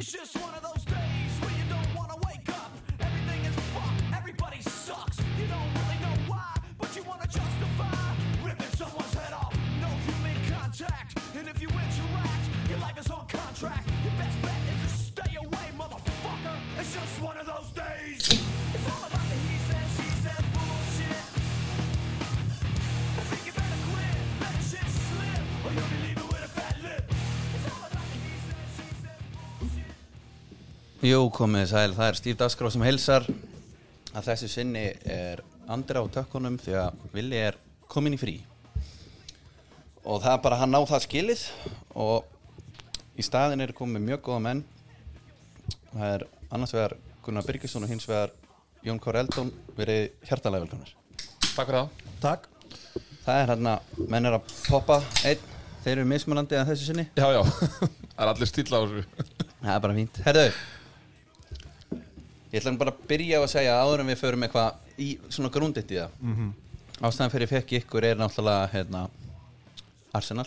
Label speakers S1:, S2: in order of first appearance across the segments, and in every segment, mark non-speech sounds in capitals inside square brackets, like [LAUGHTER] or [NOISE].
S1: It's just one of those days where you don't wanna wake up. Everything is fucked, everybody sucks. You don't really know why, but you wanna justify ripping someone's head off. No human contact, and if you interact, your life is on contract. Your best bet is to stay away, motherfucker. It's just one of those days. It's all about the he said, she said bullshit. I think you better quit, let the shit slip, or you'll be leaving with a fat lip. It's all about the he said, she said bullshit.
S2: Jú, komið þið sæl, það er Steve Dasgrá sem heilsar að þessu sinni er Andra á tökkunum því að Vili er komin í frí og það er bara hann á það skilið og í staðin er komið mjög góða menn það er annars vegar Gunnar Byrgisson og hins vegar Jón Kór Eldón verið hjartalega velkonar
S3: Takk fyrir það
S4: Takk
S2: það er hann að menn er að poppa einn, þeir eru mismunandi að þessu sinni
S3: Já, já, [LAUGHS] það er allir stíl á þessu
S2: Það er bara fínt Herðu Ég ætla nú bara að byrja á að segja áður en við förum eitthvað í svona grúnditt í það
S3: Mhm.
S2: Ástæðan fyrir ég fekk ykkur er náttúrulega hérna, Arsenal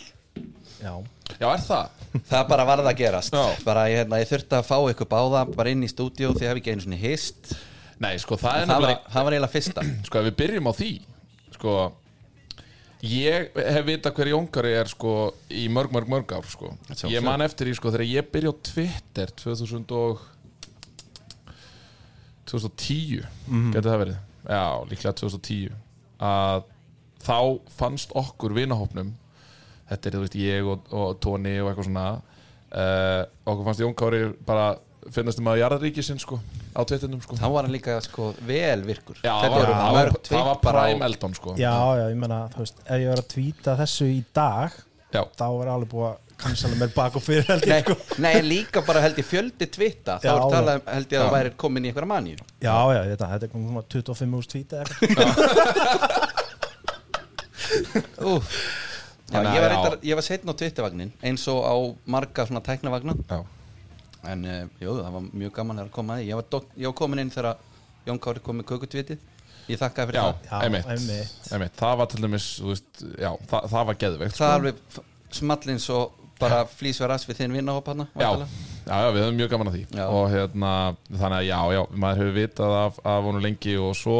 S4: Já
S3: Já, er það?
S2: Það bara varð að gerast
S3: Já.
S2: bara, ég, hérna, ég þurfti að fá ykkur báða bara inn í stúdíó því ég hef ekki einu svona hist
S3: Nei, sko, það er
S2: það var,
S3: nefnilega
S2: það var eiginlega fyrsta
S3: Sko, ef við byrjum á því Sko, ég hef vita hver Jónkari er, sko, í mörg, mörg, mörg ár, sko
S2: sjálfsögðu.
S3: Ég man eftir því, sko, þegar ég byrja á Twitter 2000 og 2010 Gæti það verið? Já, líklega 2010 Að þá fannst okkur vinahópnum þetta er, þú veist, ég og, og Tóni og eitthvað svona uh, okkur fannst Jón Kári bara finnast um að jarðaríkisinn, sko, á tvittinum, sko
S2: Það var hann líka sko, vel virkur
S3: Já,
S2: Þetta
S3: var-
S2: eru
S3: það var,
S2: mörg
S3: það var
S2: tvitt bara
S3: Prime
S2: á-
S3: Eldon, sko
S4: Já, já, ég menna, þú veist, ef ég var að tvíta þessu í dag
S3: Já.
S4: þá er alveg búið að kansala mér bak og fyrir held
S2: Nei,
S4: ég sko
S2: nei, líka bara held ég fjöldi tvitta þá
S4: Já.
S2: er talað, um- held ég að það væri komin í einhverja manju
S4: Já, já, þetta, þetta er komið svona 25 úrs tvíta eða eitthvað
S2: Úf. Já,
S3: Þannig að
S2: ég var,
S3: Hérna, já.
S2: reyndar, ég var setn á tvittivagnin eins og á marga svona tæknavagna
S3: Já.
S2: en uh, jú, það var mjög gaman að koma að því ég var, dot, ég var komin inn þegar Jón Kári kom með kökutvitið ég þakkaði fyrir það
S3: Já,
S4: Já,
S3: einmitt,
S4: einmitt.
S3: einmitt Það var til dæmis, þú veist, já, það, það var geðveikt sko.
S2: það er alveg f- smallinn svo bara flýs við rass við þinn vinnahóp hana
S3: já,
S2: væntanlega.
S3: já, já, við höfum mjög gaman að því
S2: Já.
S3: og hérna, þannig að já, já, maður hefur vitað af, af honum lengi og svo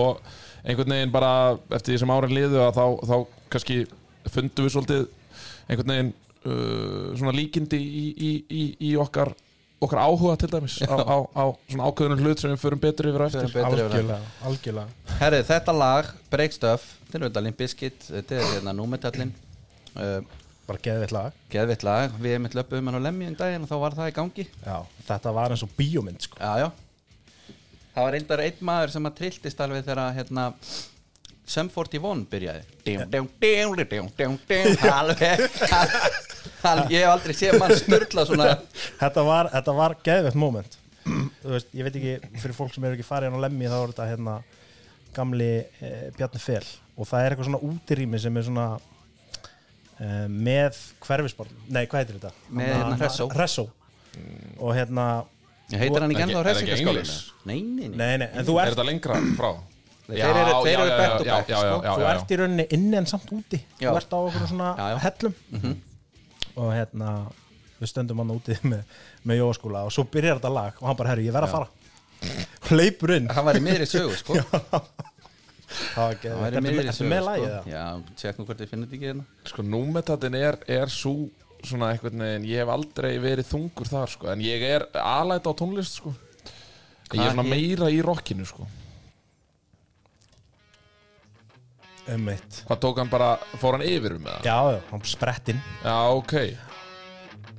S3: einhvern veginn bara eftir því sem árin liðu að þá, þá kannski fundum við svolítið einhvern veginn uh, svona líkindi í, í, í, í okkar okkar áhuga til dæmis á, á, á svona ákveðunum hlut sem við förum betur yfir á
S2: Förum
S3: eftir
S2: betur yfir það.
S4: Algjörlega, algjörlega
S2: Herri, þetta lag, Break Stuff þetta er auðvitað Limp Bizkit, þetta er hérna númetallin uh,
S4: Bara geðið lag
S2: geðvitt lag, við erum eitt löpum hann á lemmi um daginn og þá var það í gangi
S4: Já, þetta var eins og bíómynd sko
S2: Já, já Það var reyndar einn maður sem að trilltist alveg þegar að, hérna Sum 41 byrjaði Djum, djum, djum, djum, djum, djum Alveg hann, Ég hef aldrei séð mann störla svona
S4: Þetta var, þetta var geðveikt moment Þú veist, ég veit ekki, fyrir fólk sem eru ekki farið hann á lemmi þá er þetta hérna gamli e, Bjarni Fel og það er eitthvað svona útirými sem er svona e, með hverfisborð Nei, hvað heitir þetta?
S2: Með,
S4: Hanna-
S2: hérna, hressó.
S4: Hressó og hérna
S2: Ég heitir hann ekki ennþá
S3: Er það ekki- er það ekki
S2: hressingaskóli
S3: English?
S2: Nei, nei, nei
S4: Nei, nei, en þú
S3: Er
S4: ert,
S3: þetta lengra frá?
S2: Þeir eru- þeir eru back to back,
S3: já, já, já,
S2: sko.
S3: já,
S4: þú
S3: já,
S4: ert í rauninni inni en samt úti
S2: Já. Mhm.
S4: Þú ert á okkur svona
S2: Já, já.
S4: hellum og hérna við stöndum hann úti með, með jóskúla og svo byrjar þetta lag og hann bara, herru, ég verð að fara hleypur inn
S2: Hann var í miðri sögu,
S4: [LAUGHS]
S2: sko
S4: Það var
S2: Hann var í
S4: geðvægt. Ertu
S2: miðri
S4: með- ertu
S2: sögu,
S4: með
S2: sko.
S4: lagið það?
S2: Já, tjekkum hvort þið finnum þetta ekki hérna
S3: Sko númetatin er, er svo svona einhvern veginn, ég hef aldrei verið þungur þar sko, en ég er alæt á tónlist sko Ég
S2: Hvað
S3: er svona
S2: er-
S3: meira í rockinu sko
S4: Um eitt
S3: Hvað tók hann bara, fór hann yfir um það?
S4: Já, já, hann sprett inn
S3: Já, ok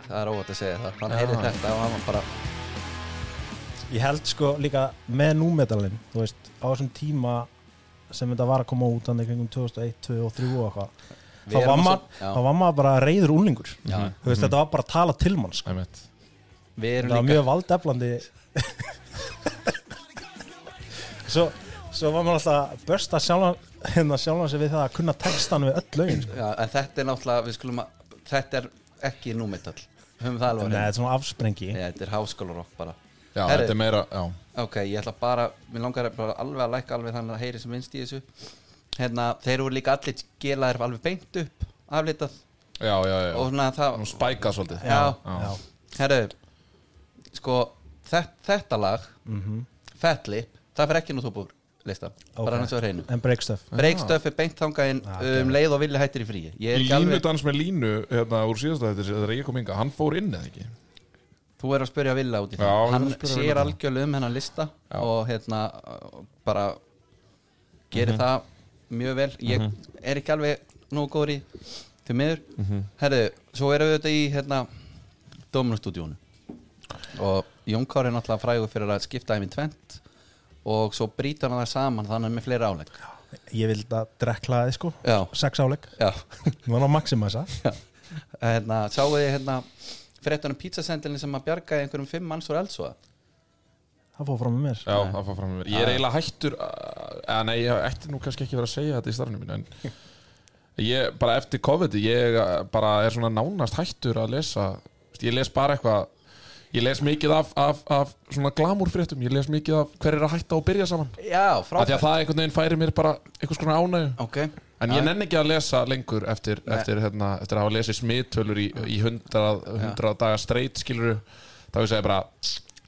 S2: Það er óvægt að segja það Hann heyrði þetta og hann var bara
S4: Ég held sko líka með númetalin Þú veist, á þessum tíma sem þetta var að koma út Þannig kringum 2001, 2002 og 2003 og eitthvað
S2: Við
S4: Þá
S2: erum
S4: var,
S2: að
S4: maður,
S2: svo- já.
S4: þá var maður bara reyður úlingur Þú
S2: Já. Mhm.
S4: veist, þetta var bara að tala til mann sko.
S3: Æmitt.
S2: Við
S4: Það
S2: erum
S4: var
S2: líka
S4: mjög valdeflandi [LAUGHS] Svo, svo var maður alltaf að börsta sjálfan hérna sjálfan sig við það að kunna textan við öll lögin sko.
S2: Já, En þetta er náttúrulega, við skulum að Þetta er ekki númetall Höfum það alveg á
S4: Nei,
S2: hreinu.
S4: þetta er svona afsprengi
S2: Nei, þetta er háskólarokk bara
S3: Já,
S2: Herri,
S3: þetta er meira, já
S2: Ok, ég ætla bara, mér langar bara alveg að lækka alveg þannig að heyri sem vinst í þessu Hérna, þeir voru líka allir gelaðir alveg beint upp, aflitað
S3: Já, já, já,
S2: og
S3: já.
S2: svona það,
S3: Hún spækað svolítið
S2: já,
S3: já.
S4: Já.
S2: herru sko, þetta, þetta lag mm Fat Lip, það fyrir ekki nú tópur lista,
S4: Ok.
S2: bara hann svo hreinu
S4: En break stuff
S2: Breakstöf er beint þangað inn um leið og vilja hættir í fríi Ég er ekki
S3: Línu
S2: alveg,
S3: dans með línu hérna úr síðasta þetta þegar ég kom inga hann fór inn eða ekki
S2: þú er að spyrja Villa út í
S3: Já,
S2: það
S3: ég er
S2: Hann
S3: að spyrja
S2: sér
S3: Villa.
S2: algjörlega um hennan lista og hérna uh, bara gerir
S3: Mhm.
S2: það mjög vel Ég er ekki alveg nógu góður í til miður
S3: Mhm.
S2: Herðu, svo erum við þetta í hérna Dóminustúdíónu og Jón Kár er náttúrulega frægur fyrir að skipta þeim í tvent og svo brýta hann það saman þannig að hann er með fleiri áleg
S4: Ég vildi að drekla þið sko
S2: Já,
S4: Sex áleik
S2: [LAUGHS] já
S4: Nú var hann að maximæsa
S2: Já. hérna, sáu þið hérna fréttunum pítsasendilin sem að bjargaði einhverjum fimm manns úr eldsvoða
S4: Það fór fram með mér
S3: Já, það fór fram með mér Ég er eiginlega hættur að- að Nei, ég ætti nú kannski ekki verið að segja þetta í starfinu mínu En [LAUGHS] ég, bara eftir COVID Ég eh, bara er svona nánast hættur að lesa Þú veist, Ég les bara eitthvað Ég les mikið af, af, af svona glamúrfréttum Ég les mikið af hver er að hætta og byrja saman
S2: já,
S3: Af því
S2: frábært
S3: að það einhvern veginn færi mér bara einhvers konar ánægju
S2: ok,
S3: En ég nenni ekki að lesa lengur eftir, eftir, hérna, eftir að hafa lesið smittölur í, í 100, 100 daga streit skiluru þá ég segi bara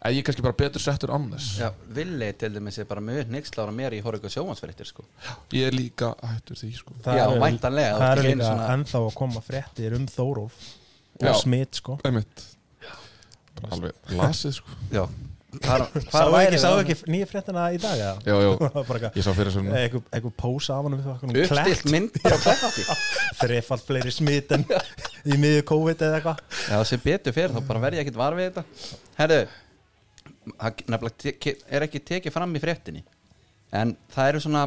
S3: að ég er kannski bara betur settur án þess
S2: já, villi til dæmis er bara mjög neykslára mér í horfðu sjóhansfréttir sko.
S3: Ég er líka hættur því sko
S2: Já,
S4: eru-
S2: væntanlega, þú
S4: Það
S2: ert
S4: eru
S2: ekki einu
S4: líka
S2: svona-
S4: ennþá að koma fréttir um Þórólf
S3: Já.
S4: Og smitt sko
S3: Einmitt Bara alveg lasið sko
S2: já [LAUGHS] Hvar,
S4: Sáu
S2: væri
S4: ekki,
S2: það? Mm.
S4: sáu ekki nýja fréttina í dag eða? [LAUGHS]
S3: Jú, jú.
S4: Það var bara eitthvað-
S3: [LAUGHS] Ég sá fyrir sem
S4: Eh, einhver, einhver pósa af hann við okkur
S2: uppstilt mynd [LAUGHS] á kletti
S4: þrefald fleiri smit
S2: [LAUGHS]
S4: en [LAUGHS] í miðju COVID eða eitthvað
S2: já, sem betur fyrir, þá bara verð ég ekkert var við þetta herru það nefnilega te- er ekki tekið fram í fréttinni en það eru svona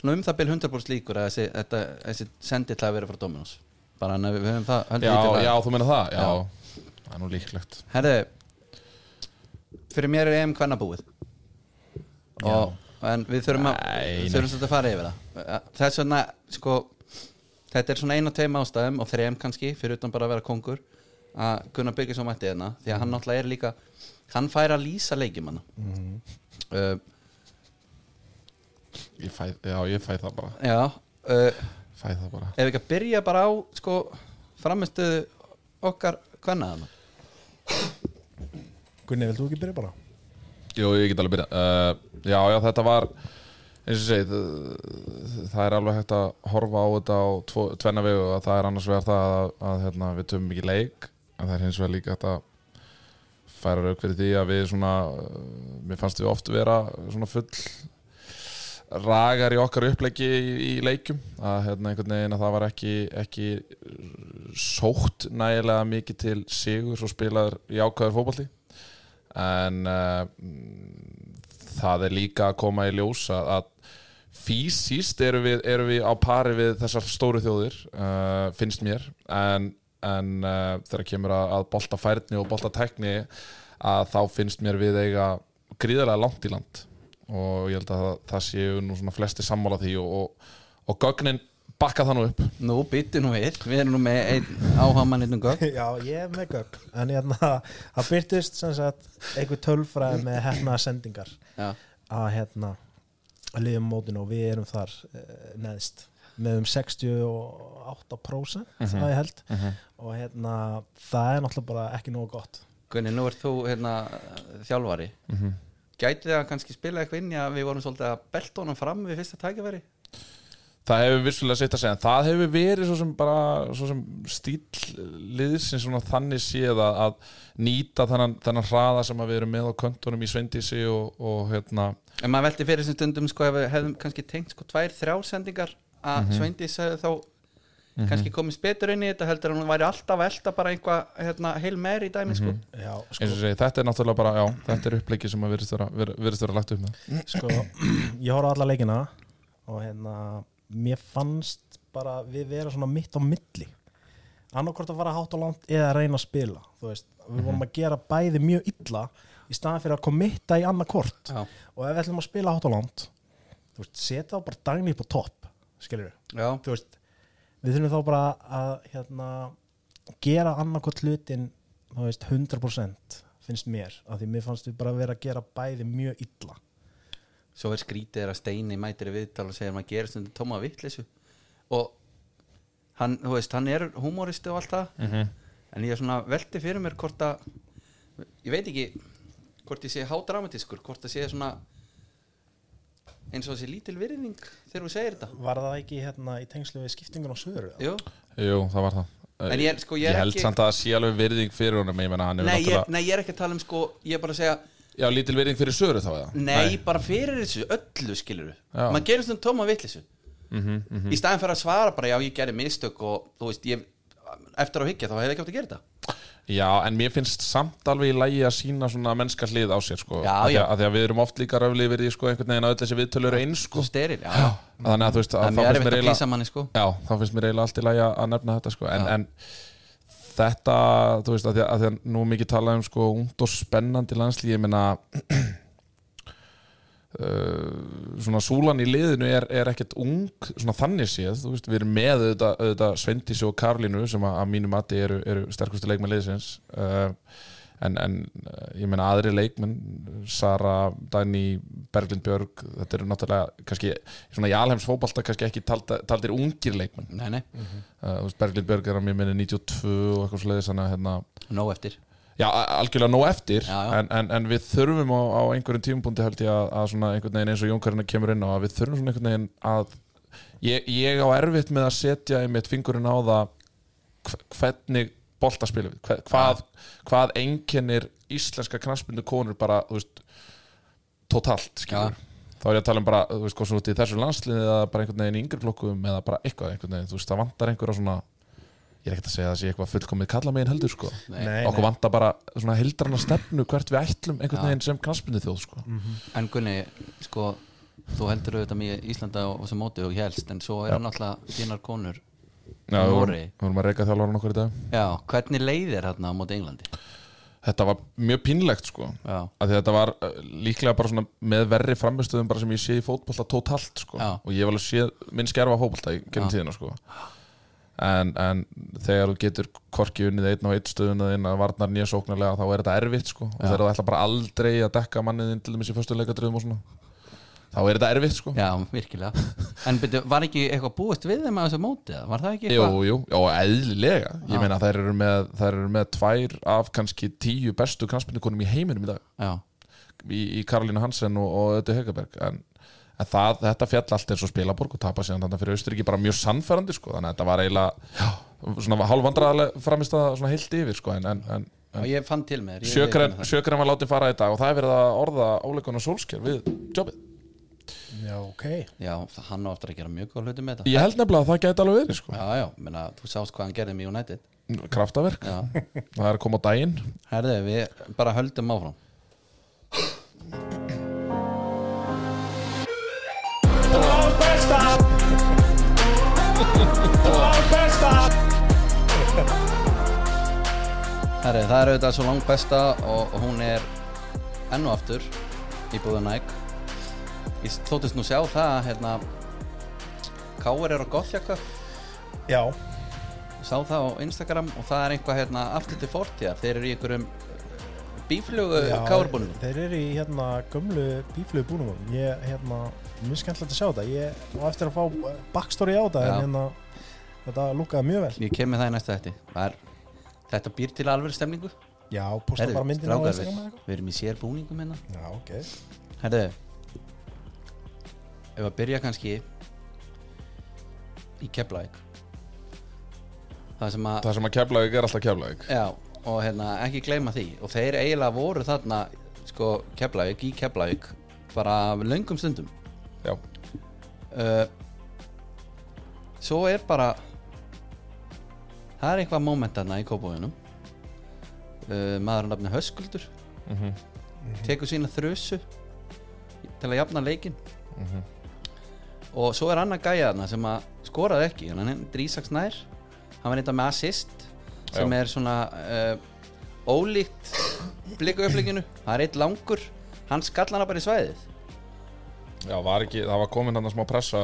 S2: svona um það byrð 100% líkur að þessi, þetta, þessi sendill að vera frá Dominos bara en að við höfum það höldum
S3: Já,
S2: því til haga.
S3: já, þú meina það Já, það er nú líklegt
S2: Herðu Fyrir mér er EM kvennabúið og, En við þurfum að
S3: Nei, nei.
S2: Þurfum svolítið að fara yfir það Þess vegna sko Þetta er svona ein og tveim ástæðum og þreim kannski Fyrir utan bara að vera kongur Að Gunnar byggja svo mætti hérna Því að hann náttúrulega er líka Hann fær að lýsa leikjumanna mm
S3: ég fæ, Já, ég fæ það bara
S2: Já uh,
S3: Fæ það bara
S2: Ef við ekki að byrja bara á sko Framistuðu okkar hérna. kvennaðana
S4: Gunni, vilt þú ekki byrja bara?
S3: Jú, ég get alveg byrjað uh, Já, já, þetta var eins og segið það er alveg hægt að horfa á þetta á tvo, tvenna vegu að það er annars vegar það að, að hérna, við töfum ekki leik en það er hins vegar líka hægt að færa rauk fyrir því að við svona eh, mér fannst við oft vera svona full ragar í okkar uppleggi í, í leikum að hérna einhvern veginn að það var ekki, ekki sótt nægilega mikið til sigur svo spilaður í ákvæður fótbolti en uh, það er líka að koma í ljós að, að fysiskt erum við, erum við á pari við þessar stóru þjóðir uh, finnst mér en, en uh, þegar kemur að, að bolta færni og bolta tækni að þá finnst mér við eiga gríðarlega langt í land og ég held að það, það séu nú svona flesti sammála því og, og, og gögnin bakka það nú upp
S2: Nú býttu nú við Við erum nú með einn áhamann einn um gögn
S4: [LAUGHS] Já, ég er með gögn en hérna, það byrtist sem sagt einhver tölfræði með hefna sendingar
S2: Já
S4: að hérna að liðum mótinu og við erum þar uh, neðst með um 68% það ég held og hérna, það er náttúrulega bara ekki nógu gott
S2: Gunni, nú ert þú hérna þjálfari mm -hmm. Gæti það kannski spila eitthvað inn í að við vorum svolítið að belta honum fram við fyrsta tækifæri?
S3: Það hefur vissulega sitt að segja en það hefur verið svo sem bara svo sem stíl liðsins svona þannig séð að, að nýta þennan, þennan hraða sem að við erum með á köntunum í Svendísi og, og hérna
S2: En maður velti fyrir þessum stundum sko ef við hefðum kannski tengt sko tvær, þrjár sendingar að mm Sveindís hefði þá kannski komist betur inn í þetta heldur en hún væri alltaf að elta bara einhvað hérna, heil meir í dæmi sko
S4: Já, sko,
S3: eins og segi þetta er náttúrulega bara, já, þetta er uppleiki sem að virðist vera, vera, virðist vera lagt upp með
S4: sko, ég horfði á alla leikina og hérna mér fannst bara við vera svona mitt á milli annarkvort að fara hátt og langt eða að reyna að spila þú veist, við vorum að gera bæði mjög illa í staðan fyrir að komitta í annarkvort
S2: Já.
S4: og ef við ætlum að spila hátt og langt þú veist, setja þá bara dagni upp á topp skilur
S2: Já,
S4: þú veist, við þurfum þá bara að hérna, gera annarkvort hlutin þú veist, 100% finnst mér, af því mér fannst við bara vera að gera bæði mjög illa
S2: svo er skrítið er að steini mætir í viðtal og segir maður gerir stundum tóma vitleysu og hann, þú veist, hann er humoristi og allt það -hmm. en ég er svona velti fyrir mér hvort að ég veit ekki hvort ég sé hádramatiskur, hvort það sé svona eins og það sé lítil virðing þegar þú segir þetta
S4: Var það ekki hérna í tengslu við skiptingun á söður?
S2: Jú,
S3: Jú, það var það
S2: En ég er- sko, ég er
S3: held
S2: ekki-
S3: samt að það sé alveg virðing fyrir honum ég menna hann hefur
S2: nei ég,
S3: náttúrulega
S2: nei, ég er ekki að tala um sko, ég er bara að segja
S3: Já, lítil virðing fyrir söru þá eða
S2: Nei, bara fyrir þessu öllu skilur
S3: Já. Mhm,
S2: maður gerir stundum tóma vitleysu í staðin fyrir að svara bara já ég gerði mistök og þú veist ég, eftir á higgja þá hefði ekki átt að gera þetta
S3: Já, en mér finnst samt alveg í lægi að sína svona mennska hlið á sér sko.
S2: Já,
S3: Af því
S2: já.
S3: að- af Því að við erum oft líka röfli yfir því sko, einhvern veginn að öll þessi viðtölur eru eins
S2: þú
S3: sko.
S2: styrir, já,
S3: Já, Þannig að þú veist að
S2: en
S3: þá
S2: ég er
S3: finnst
S2: veit
S3: mér
S2: að
S3: eiginlega
S2: plýsa manni sko
S3: Já, þá finnst mér eiginlega allt í lagi að að nefna þetta sko. en, en þetta, þú veist, að því að, að því að nú er mikið talað um sko ungt og spennandi landslíð, ég meina [CLEARS THROAT] uh, svona súlan í liðinu er, er ekkert ung svona þannig séð, þú veist, við erum með auðvitað, auðvitað Svendísi og Karlínu sem að, að mínu mati eru, eru sterkustu leikmenn liðsins uh, en, en uh, ég meina aðri leikmenn Sara, Dani, Berglind Björg þetta eru náttúrulega kannski svona í alheims fótbalta kannski ekki talda, taldir ungir leikmenn
S2: nei, nei,
S3: uh, þú veist, Berglind Björg er að mér minni 92 og eitthvað sliðis þannig að hérna,
S2: nóg eftir
S3: já, a- algjörlega nóg eftir
S2: Já, já.
S3: En, en, en við þurfum á, á einhverjum tímapunkti held ég að, að svona einhvern veginn eins og Jónkarinn kemur inn á að við þurfum svona einhvern veginn að ég, ég á erfitt með að setja einmitt fingurinn á það hv- hvernig bolta spilum við hvað, hvað, hvað einkennir íslenska knassbundu konur bara, þú veist totalt, skilur þá er ég að tala um bara, þú veist, hvort sem þú ert í þessu landsliði eða bara einhvern veginn í yngri flokkum eða bara eitthvað, einhvern veginn, þú veist, það vantar einhverja svona ég er ekkert að segja að það sé eitthvað fullkomið kalla megin heldur, sko
S2: Nei.
S3: okkur vantar bara svona heldrana stefnu hvert við ætlum einhvern veginn sem knaspinu þjóð, sko
S2: en Gunni, sko þú heldur auðvitað mjög Íslanda og sem móti og helst en svo er hann alltaf þínar konur
S3: Já, við vorum,
S2: Noregi.
S3: við vorum að reyka þjálfóran okkur í dag
S2: já, hvernig leiðir hann á móti Englandi
S3: Þetta var mjög pínlegt, sko
S2: já,
S3: að því þetta var uh, líklega bara svona með verri framistöðum bara sem ég sé í fótbolta totalt sko.
S2: Já.
S3: og ég hef alveg séð minn skerfa fótbolta í gerum
S2: Já.
S3: tíðina sko. en, en þegar þú getur korki unnið einn á einn stöðun eða inn að varnar nýja sóknarlega þá er þetta erfitt sko. og þegar þú ætla bara aldrei að dekka manniðin til dæmis í föstu leikadröðum og svona þá er þetta erfitt sko.
S2: já, virkilega en byrju, var ekki eitthvað búist við þeim að þessu móti eða? var það ekki
S3: Jú,
S2: eitthvað
S3: jú, og eðlilega Ég meina þær eru, með, þær eru með tvær af kannski tíu bestu knaspindukonum í heiminum í dag
S2: já,
S3: í, í Karolínu Hansen og, og Ötu Haugaberg en, en það, þetta fjall allt eins og spilaborg og tapa síðan þannig fyrir Austuríki bara mjög sannfærandi sko, þannig að þetta var eiginlega já, svona hálfvandraðarlega framist að svona heilt yfir sko, en, en, en,
S2: og ég fann til með þér, ég
S3: sjökren,
S2: viðurkenni það.
S3: sjökren var látið fara í dag og það er verið að orða áleikun og sólsker við jobbið.
S4: Já, ok
S2: já, það- hann á aftur að gera mjög góð hluti með þetta
S3: Ég held nefnilega að það gæti alveg verið sko.
S2: Já, já, menna, þú sást hvað hann gerði með United
S3: kraftaverk,
S2: Já.
S3: það er að koma á daginn
S2: Herðu, við bara höldum áfram Herðu, það er auðvitað svo langt besta og, og hún er enn og aftur í búðu Nike Ég þóttist nú sjá það hérna Káir er á Gothjaka
S4: Já,
S2: sá það á Instagram og það er einhvað hérna aftur til fortíðar, þeir eru í einhverjum eh, bíflugu
S4: já
S2: kárbúnum
S4: Þeir eru í hérna gömlu bíflögu búnum Ég, hérna, mjög skemmtilegt að sjá þetta Ég á eftir að fá eh, backstory á þetta
S2: Já.
S4: En hérna, þetta lukkaði mjög vel
S2: ég kem með það í næsta þetta það er, þetta býr til alveg stemningu
S4: Já, posta
S2: Herðu,
S4: bara myndin á
S2: strákar,
S4: Instagram eða
S2: við, við erum í sérbúningum hérna
S4: eitthvað Já, ok
S2: herðu ef að byrja kannski í Keflæk það sem að
S3: það sem að keflaug er alltaf keflaug
S2: já, og hérna ekki gleyma því og þeir eiginlega voru þarna sko Keflæk, í Keflæk bara löngum stundum
S3: já,
S2: uh, svo er bara það er eitthvað moment þarna í kópavöginum uh, maður að nafni Höskuldur tekur sína þrjusu til að jafna leikin og svo er annar gæja þarna sem að skoraði ekki hann er Drísaks nær hann var eitthvað með assist sem
S3: Já.
S2: er svona uh, ólíkt blikauplikinu, það er eitt langur hann skall hana bara í svæðið
S3: já var ekki, það var komin hann að smá pressa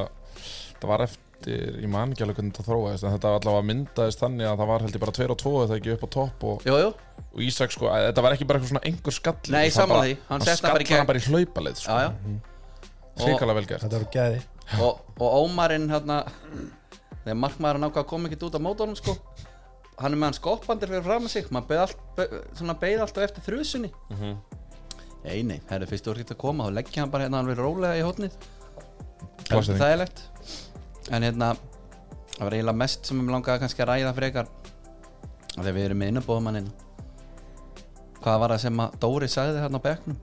S3: það var eftir, ég man ekki alveg hvernig þetta þróaðist en þetta allavega myndaðist þannig að það var held ég bara 2 og 2 það ekki upp á topp og,
S2: jú, jú,
S3: og Ísak sko, að þetta var ekki bara eitthvað svona einhver skall
S2: Nei,
S3: Það
S2: sammála
S3: bara-
S2: því. Hann
S3: hann
S2: setti hann bara í
S3: skall
S2: gegn.
S3: hann bara í hlaupaleið sko.
S2: já, já.
S3: hrikalega vel gert
S4: Þetta eru gæði
S2: og, og Ómarinn hérna þegar markmaðurinn ákvað að koma ekkert út á mótornum sko hann er með hann skoppandir fyrir fram að sig maður beið, allt, beið, svona, beið alltaf eftir þrjusunni mm -hmm. ei nei, herri, fyrst þú ert að koma þá leggja hann bara hérna alveg rólega í hótnið
S3: Klassering.
S2: það er lett en hérna, það var eiginlega mest sem ég langaði kannski að ræða frekar af því að við erum með innabóðumanninn hvað var það sem að Dóri sagði hérna á bekknum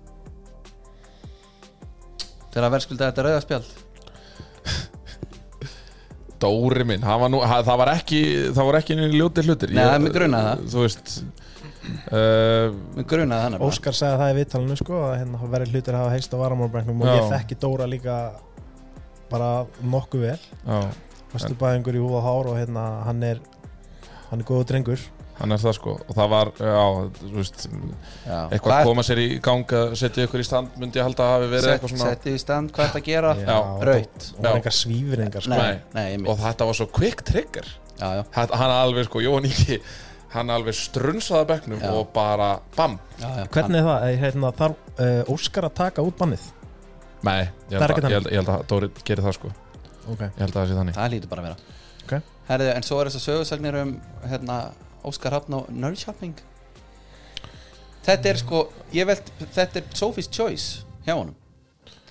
S2: þegar að verðskuldaði þetta rauðaspjald
S3: Dóri minn, hann var nú, hann, það var ekki það var ekki nýjum ljóti hlutir
S2: Nei,
S3: Ég-
S2: það er mig grunaði það.
S3: Þú veist uh,
S2: mér grunaði hana bara
S4: Óskar sagði það í vittalinu sko að hérna verið hlutir hafa heist á varamálbræknum og
S3: Já.
S4: ég þekki Dóra líka bara nokkuð vel
S3: já,
S4: Vestu bæðingur í húfa hár og hérna hann er hann er góður drengur
S3: hann er það sko og það var, já, þú veist
S2: Já.
S3: eitthvað að koma sér í gang að setja ykkur í stand myndi ég halda að hafi verið
S2: Sett-
S3: eitthvað svona
S2: Settu í stand hvað þetta að gera
S3: Já,
S2: Raut
S4: og hann
S3: Já.
S4: er engar svífringar sko.
S2: Nei, nei, ég
S3: og
S2: mynd
S3: þetta var svo quick trigger
S2: Já, já,
S3: hann hann alveg sko, Jóhann Íki hann alveg strunsaði að bekknum
S2: Já.
S3: og bara bam,
S2: já, já
S4: Hvernig er það? Er, hérna, þarf uh, Óskar að taka út bannið?
S3: nei ég
S2: um.
S3: held,
S4: Það er ekkert
S3: að, ég, held, ég held að Dóri gerir það sko ég
S4: Okay.
S3: held að það sé þannig
S2: Það lítur bara að vera
S4: Ok.
S2: Herðu, en svo er þess að sögursagnir um hérna, Óskar Hafn og Nerd Shopping Þetta er sko ég veld, þetta er Sophie's Choice hjá honum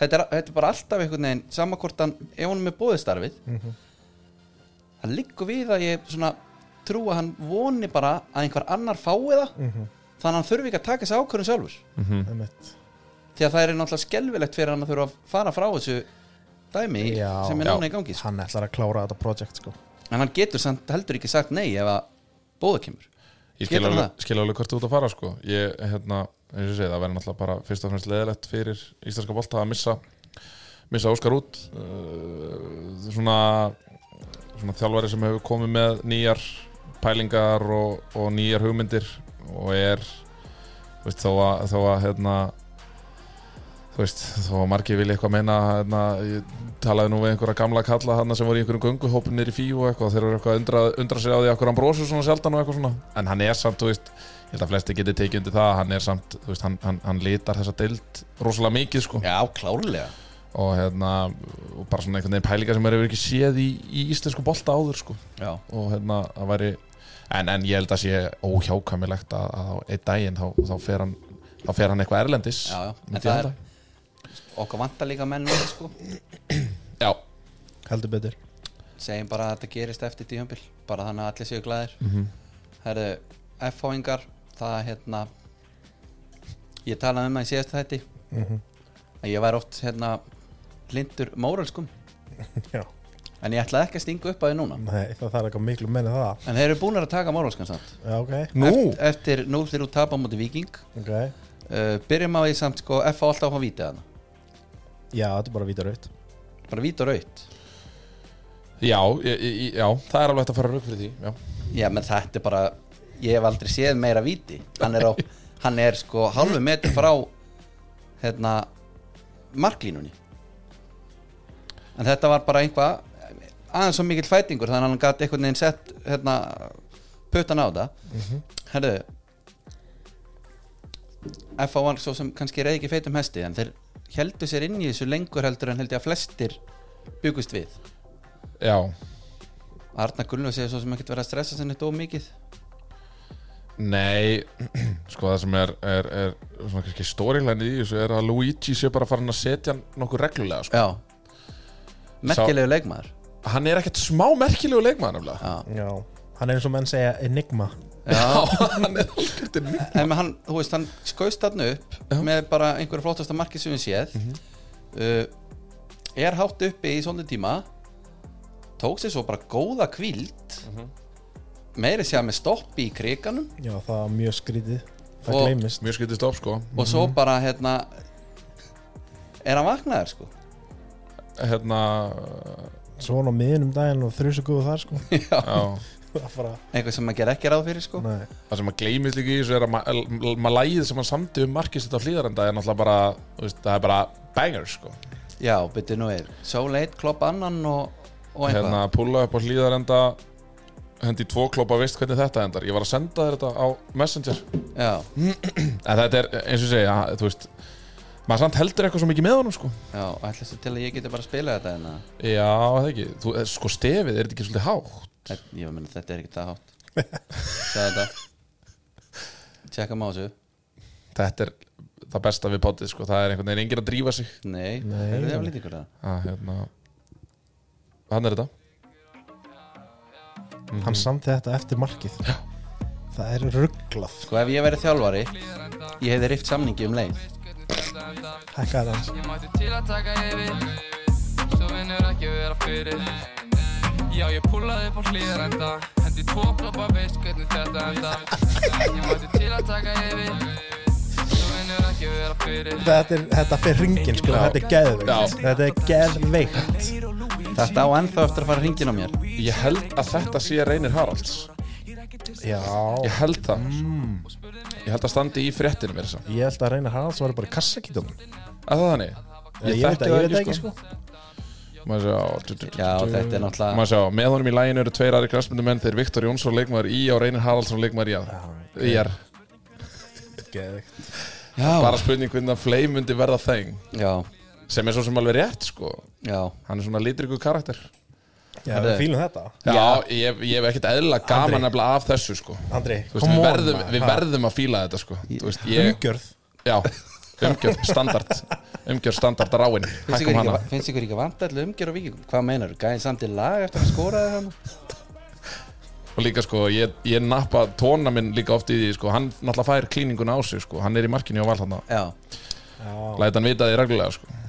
S2: Þetta er, þetta er bara alltaf einhvern veginn samakortan ef honum er bóðistarfið mm
S4: Mhm.
S2: Það liggur við að ég svona trú að hann voni bara að einhver annar fái það
S4: Mhm.
S2: þannig að hann þurfi ekki að taka þessi ákvörðum sjálfur
S4: einmitt.
S2: því að það er náttúrulega skelvilegt fyrir hann að þurfa að fara frá þessu dæmi
S4: Já.
S2: sem er
S3: Já.
S2: núna í gangi sko.
S4: Hann ætlar að klára þetta projekt sko.
S2: en hann getur samt heldur ekki sagt nei ef að bóða kemur
S3: Ég skil
S2: Getur hann
S3: alveg, skil alveg hvert þú ert að fara sko Ég, hérna, eins og ég segi, það verður náttúrulega bara fyrst og fremst leðilegt fyrir íslenska bolta að missa missa Óskar út uh, svona svona þjálfari sem hefur komið með nýjar pælingar og, og nýjar hugmyndir og er þú veist, þó að, þó að hérna, þú veist, þó að margir vilja eitthvað meina hérna, ég talaði nú við einhverja gamla kalla hana sem voru í einhverjum gönguhópin niður í fíu og eitthvað, þeir eru eitthvað að undra, undra sér á því okkur hann brosur svona sjaldan og eitthvað svona en hann er samt, þú veist, ég held að flesti geti tekið undir það, hann er samt, þú veist, hann, hann, hann litar þessa deild rosalega mikið sko
S2: já, klárlega
S3: og hérna, og bara svona einhvern veginn pælingar sem eru ekki séð í, í íslensku bolta áður sko
S2: já.
S3: og hérna það væri en, en ég held að sé óhjákamilegt að, að á einn daginn þá, þá fer hann þá fer hann eitthvað erlendis
S2: Já, já. En
S3: myndi ég
S2: það er-
S3: halda.
S2: okkur vantar líka menn núna, sko.
S3: já,
S4: heldur betur [LAUGHS]
S2: segjum bara að þetta gerist eftir tíumbil bara þannig að allir séu glæðir mm -hmm. herðu, F-háingar það hérna ég talaði um það í síðasta þætti að ég væri oft hérna lindur móralskum
S4: Já.
S2: en ég ætlaði ekki að stinga upp að því núna
S4: Nei, það þarf eitthvað miklu menni það
S2: en þeir eru búin að taka móralskan samt
S4: Já, ok,
S3: nú,
S2: Eft, eftir 0-3 tapa á móti Viking
S4: ok
S2: uh, byrjum á því samt sko F á alltaf áfram vítið hana
S4: Já, þetta er bara vítarauðt
S2: bara vít og raut
S3: já, ég, ég, já það er alveg hægt að fara rauk fyrir því já,
S2: já menn þetta er bara ég hef aldrei séð meira víti hann er, á, hann er sko halvu metri frá hérna marklínunni en þetta var bara einhvað aðeins svo mikill fætingur þannig að hann gæti einhvern veginn sett hérna puttan á það herðu F.A. var svo sem kannski reyði ekki feitum hesti en þeir heldu sér inn í þessu lengur heldur en held ég að flestir byggust við
S3: já,
S2: Arna Gullnus er svo sem ekkert verið að stressa sinni dó mikið
S3: nei [CLEARS THROAT] sko það sem er, er, er svona kannski stórilæni í þessu er að Luigi sé bara farin að setja hann nokkuð reglulega sko.
S2: Já Merkilegu leikmaður
S3: hann er ekkert smá merkilegu leikmann nefnilega.
S2: Já,
S4: Já, hann er eins og menn segja enigma
S2: já.
S3: hann er algjört inni.
S2: En með hann, þú veist, hann skauðst þarna upp með bara einhverju flottasta markið sem við séð uh, er hátt uppi í svona tíma tók sér svo bara góða kvíld meiri sér með stoppi í kriganum
S4: Já, það var mjög skrítið Það
S2: Og-
S3: [LAUGHS]
S4: gleymist
S3: mjög skytist op sko
S2: og svo bara, hérna er hann vaknaður, sko
S3: hérna,
S4: Svona á miðunum daginn og þrjusu góðu þar sko
S3: já
S4: Það bara,
S2: eitthvað sem maður ger ekki ráð fyrir, sko
S4: nei
S3: það sem að gleymist líka í þessu er að ma- ma- lagið sem hann samti um markist þetta hlýðarenda er náttúrulega bara, þú veist, það er bara banger sko,
S2: Já, byrju nú er So late, klopp annan og, og einhvað
S3: hérna að pulla upp á hlýðarenda hendi í tvo kloppa veist hvernig þetta endar, ég var að senda þér þetta á Messenger,
S2: Já,
S3: en þetta er eins og ég segja, þú veist maður samt heldur eitthvað svo mikið með honum sko
S2: já, ætlastu til að ég geti bara að spila þetta hérna. en að
S3: já, það ekki, þú, eh, sko stefið, er þetta ekki svolítið hátt
S2: Þetta- Ég meina þetta er ekki það [LAUGHS] hátt Sæði þetta Tjekka á þessu
S3: Þetta er það besta við potið sko. Það er einhvern veginn enginn að drífa sig
S2: Nei, það er það lítið ykkur það
S3: að, hérna. Hann er þetta
S4: hann samti þetta eftir markið það er rugglað
S2: Sko ef ég verið þjálfari Ég hefði rift samningi um leið
S4: hækkaði hans
S5: Ég mætti til að taka yfir Svo vinnur ekki vera fyrir Já, ég púlaði upp á hlýðar enda Hendi tvo kloppa veist hvernig þetta enda Ég mætti til að taka yfir Svo vinnur ekki vera fyrir
S4: þetta, er, þetta fer ringin sko, þetta er geðveikt
S3: Já.
S4: þetta er geðveikt
S2: Þetta á ennþá eftir að fara hringin á mér
S3: Ég held að þetta sé reynir Haralds
S4: já,
S3: Ég held það
S2: Mm.
S3: Ég held að standi í fréttinu mér þess að
S4: ég held að Reynar Haralds var bara í kassakítunum
S3: Er það þannig?
S4: ég, ég
S3: þekki
S4: veit það
S3: það
S4: ég veit ekki sko
S3: Maður sjá
S2: Já, þetta er náttúrulega
S3: Maður sjá, með honum í læginu eru tveir aðri knastmyndumenn Þeir Viktor Jónsson leikmaður í og Reynir Haraldsson leikmaður í að Í er
S4: geðveikt
S3: Bara spurning hvernig að Flame myndi verða þeng
S2: Já,
S3: Sem er svo sem alveg rétt sko
S2: já
S3: Hann er svona litriku karakter
S4: já, við fýlum þetta
S3: Já, ég, ég hef ekkert eðla gaman
S4: Andri.
S3: nefnilega af þessu sko
S4: Andri,
S3: Þú veist,
S4: come
S3: við,
S4: on,
S3: verðum,
S4: maður.
S3: við
S4: Ha?
S3: verðum að fíla þetta sko Þú veist, ég,
S4: umgjörð
S3: já, umgjörð, standard Umgjörð, standard ráin
S2: Finnst
S3: Hækkum
S2: ykkur
S3: hana
S2: ekki- Finnst ykkur ekki vant allir umgjör á vikingum? Hvað meinar, gæði samt í lag eftir að skóra þér hann?
S3: Og líka sko, ég, ég nappa tóna minn líka oft í því sko Hann náttúrulega fær klíninguna á sig sko Hann er í markinu á val þarna
S2: Já,
S3: Læt hann vita því reglulega sko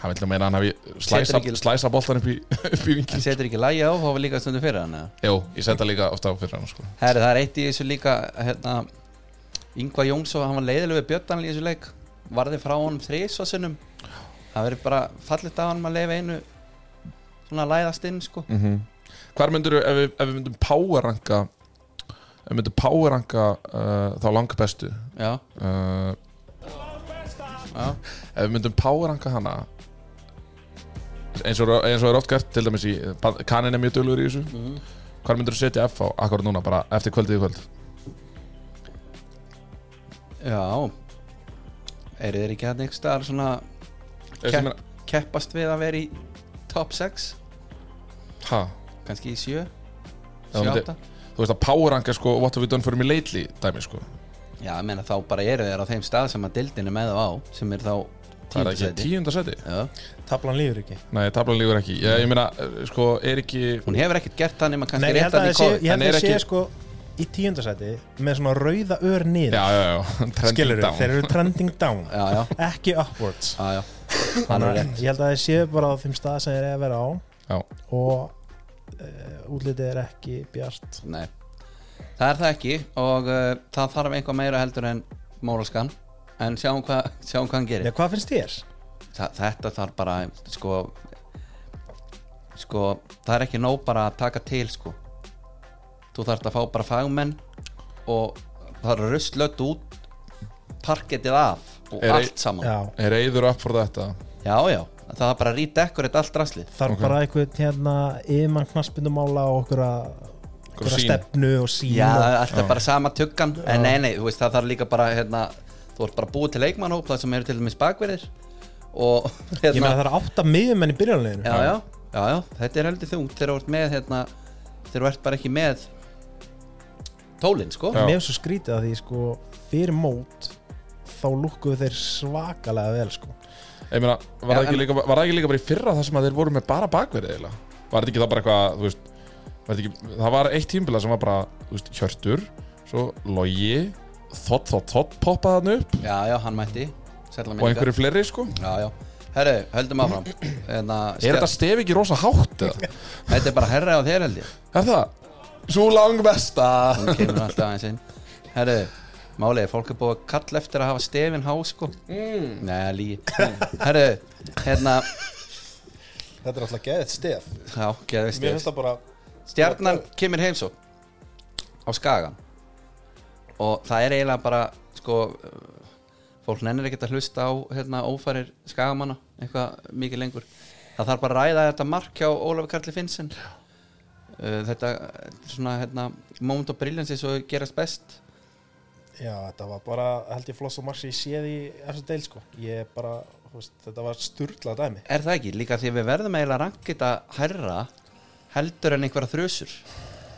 S3: Hann vil meina að hann hafi
S2: Setur
S3: slæsa,
S2: ekki-
S3: slæsa boltan upp í, [LAUGHS] upp í vingil
S2: en setur ekki lagi á, þá var líka stundum fyrir hann eða?
S3: Jó, ég setja líka ofta á fyrir hann sko
S2: Herri, það er eitt í þessu líka hérna, Ingvar Jónsson, hann var leiðileg við Björndanl í þessu leik varði frá honum þrísvarsinnum það verið bara fallit af hann að leifa einu svona læðast inn sko
S3: mm Hvar myndur, ef, við- ef við myndum powerranka Ef við myndum powerranka uh, þá langbestu
S2: já,
S3: uh,
S2: já,
S3: Ef við myndum powerranka hana eins og, eins og er oft gert til dæmis í Kanin er mjög dölur í þessu
S4: Mhm.
S3: Hvar myndur þú setja F á akkur núna bara eftir kvöldið í kvöld
S2: já eru þeir ekki hann einhver staðar svona
S3: Ég
S2: Kepp-
S3: meina-
S2: keppast við að vera í top 6
S3: Ha?
S2: kannski í 7
S3: Já,
S2: 7,
S3: myndi-
S2: 8
S3: Þú veist að powerranka sko What have we done for me lately dæmi sko
S2: já, ég meina þá bara eru þeir á þeim stað sem að dildin er með þá á sem er þá
S3: Það er ekki
S2: tíundasæti
S3: tíunda seti
S4: tablan lífur ekki
S3: Nei, tablan lífur ekki Ég, ég meina, eh, sko, er ekki
S2: hún hefur ekkert gert það nema
S4: Nei,
S2: kannski
S4: ég held
S2: réttan
S4: að
S2: í
S4: það sé,
S2: kóð
S4: ég held
S3: En
S4: að
S3: er
S4: það sé
S3: ekki-
S4: sko í tíundasæti með svona rauða ör niður
S3: Já, já, já trending
S4: skilur
S3: down. Ah,
S4: þeir eru trending down
S2: já, já,
S4: ekki upwards
S2: Ah, já, já. Hann er
S4: Þannig, að ég held að það sé bara á þeim stað sem þeir eru að vera á
S3: Já.
S4: og uh, útlitið er ekki bjart
S2: Nei, það er það ekki og uh, það þarf eitthvað meira heldur en móralskan en sjáum, hva, sjáum hvað hann gerir
S4: Nei, hvað finnst þér?
S2: Þa, Þetta þarf bara sko, sko það er ekki nóg bara að taka til sko þú þarft að fá bara fagmenn og það er rustlött út parkettið af og
S3: Er-
S2: allt saman
S4: Já,
S2: já.
S3: Er eiður upp fyrir þetta
S2: já, það er bara að rýta ekkur þetta allt rastlið
S4: þarf bara einhvern hérna yfirmann knaspindumála og okkur að
S3: sýn.
S4: stefnu og sín
S2: Já,
S4: og,
S2: alltaf bara sama tuggan En nei, nei, þú veist, það þarf líka bara hérna, Þú ert bara búið til leikmannhóp Það sem eru til dæmis bakverðir Og
S4: ég
S2: hérna
S4: meina það er átta miðjumenn í byrjanleginu
S2: já, já, já, já, þetta er heldur þungt Þegar þú ert með hérna Þegar þú ert bara ekki með Tólin, sko
S3: Já.
S4: mér finnst svo skrítið að því sko fyrir mót þá lúkkuðu þeir svakalega vel sko
S3: Ég meina, var, það
S2: Já,
S3: ekki
S2: en-
S3: líka, var það ekki líka bara í fyrra það sem að þeir voru með bara bakverði eiginlega? Var þetta ekki það bara eitthvað, þú veist var þetta ekki, Það var eitt tímbila sem var bara, þú veist, Hjörtur Svo Logi Þott, þott, þott poppaði hann upp
S2: Já, já, hann mætti Sætla
S3: Og einhverju fleiri, sko
S2: Já, já Herru, höldum áfram hérna,
S3: Er
S2: stef-
S3: þetta stef ekki rosa hátt, eða?
S2: Þetta er bara herra á þér held ég
S3: Er það? Svo lang besta
S2: Hún kemur alltaf aðeins inn Herru, málið er fólk er búið að kalla eftir að hafa stefin há sko mm. Nei, lígi Herru, hérna
S4: þetta er alltaf geðið stef
S2: Já, geðvist stef
S4: það bara
S2: Stjarnan kemur heimsó á Skagan og það er eiginlega bara sko, uh, fólk nennir ekkert að hlusta á hérna, ófærir Skagamanna eitthvað mikið lengur það þarf bara að ræða þetta mark hjá Ólafi Karli Finnsen Uh, þetta uh, svona hérna, moment of brilliance eins og gerast best
S4: Já, þetta var bara, held ég floss og marg sem ég séð í eftir deil sko ég bara, þú veist, þetta var sturglað dæmi
S2: er það ekki, líka því við verðum eiginlega að ranka þetta hærra heldur en einhverja þrösur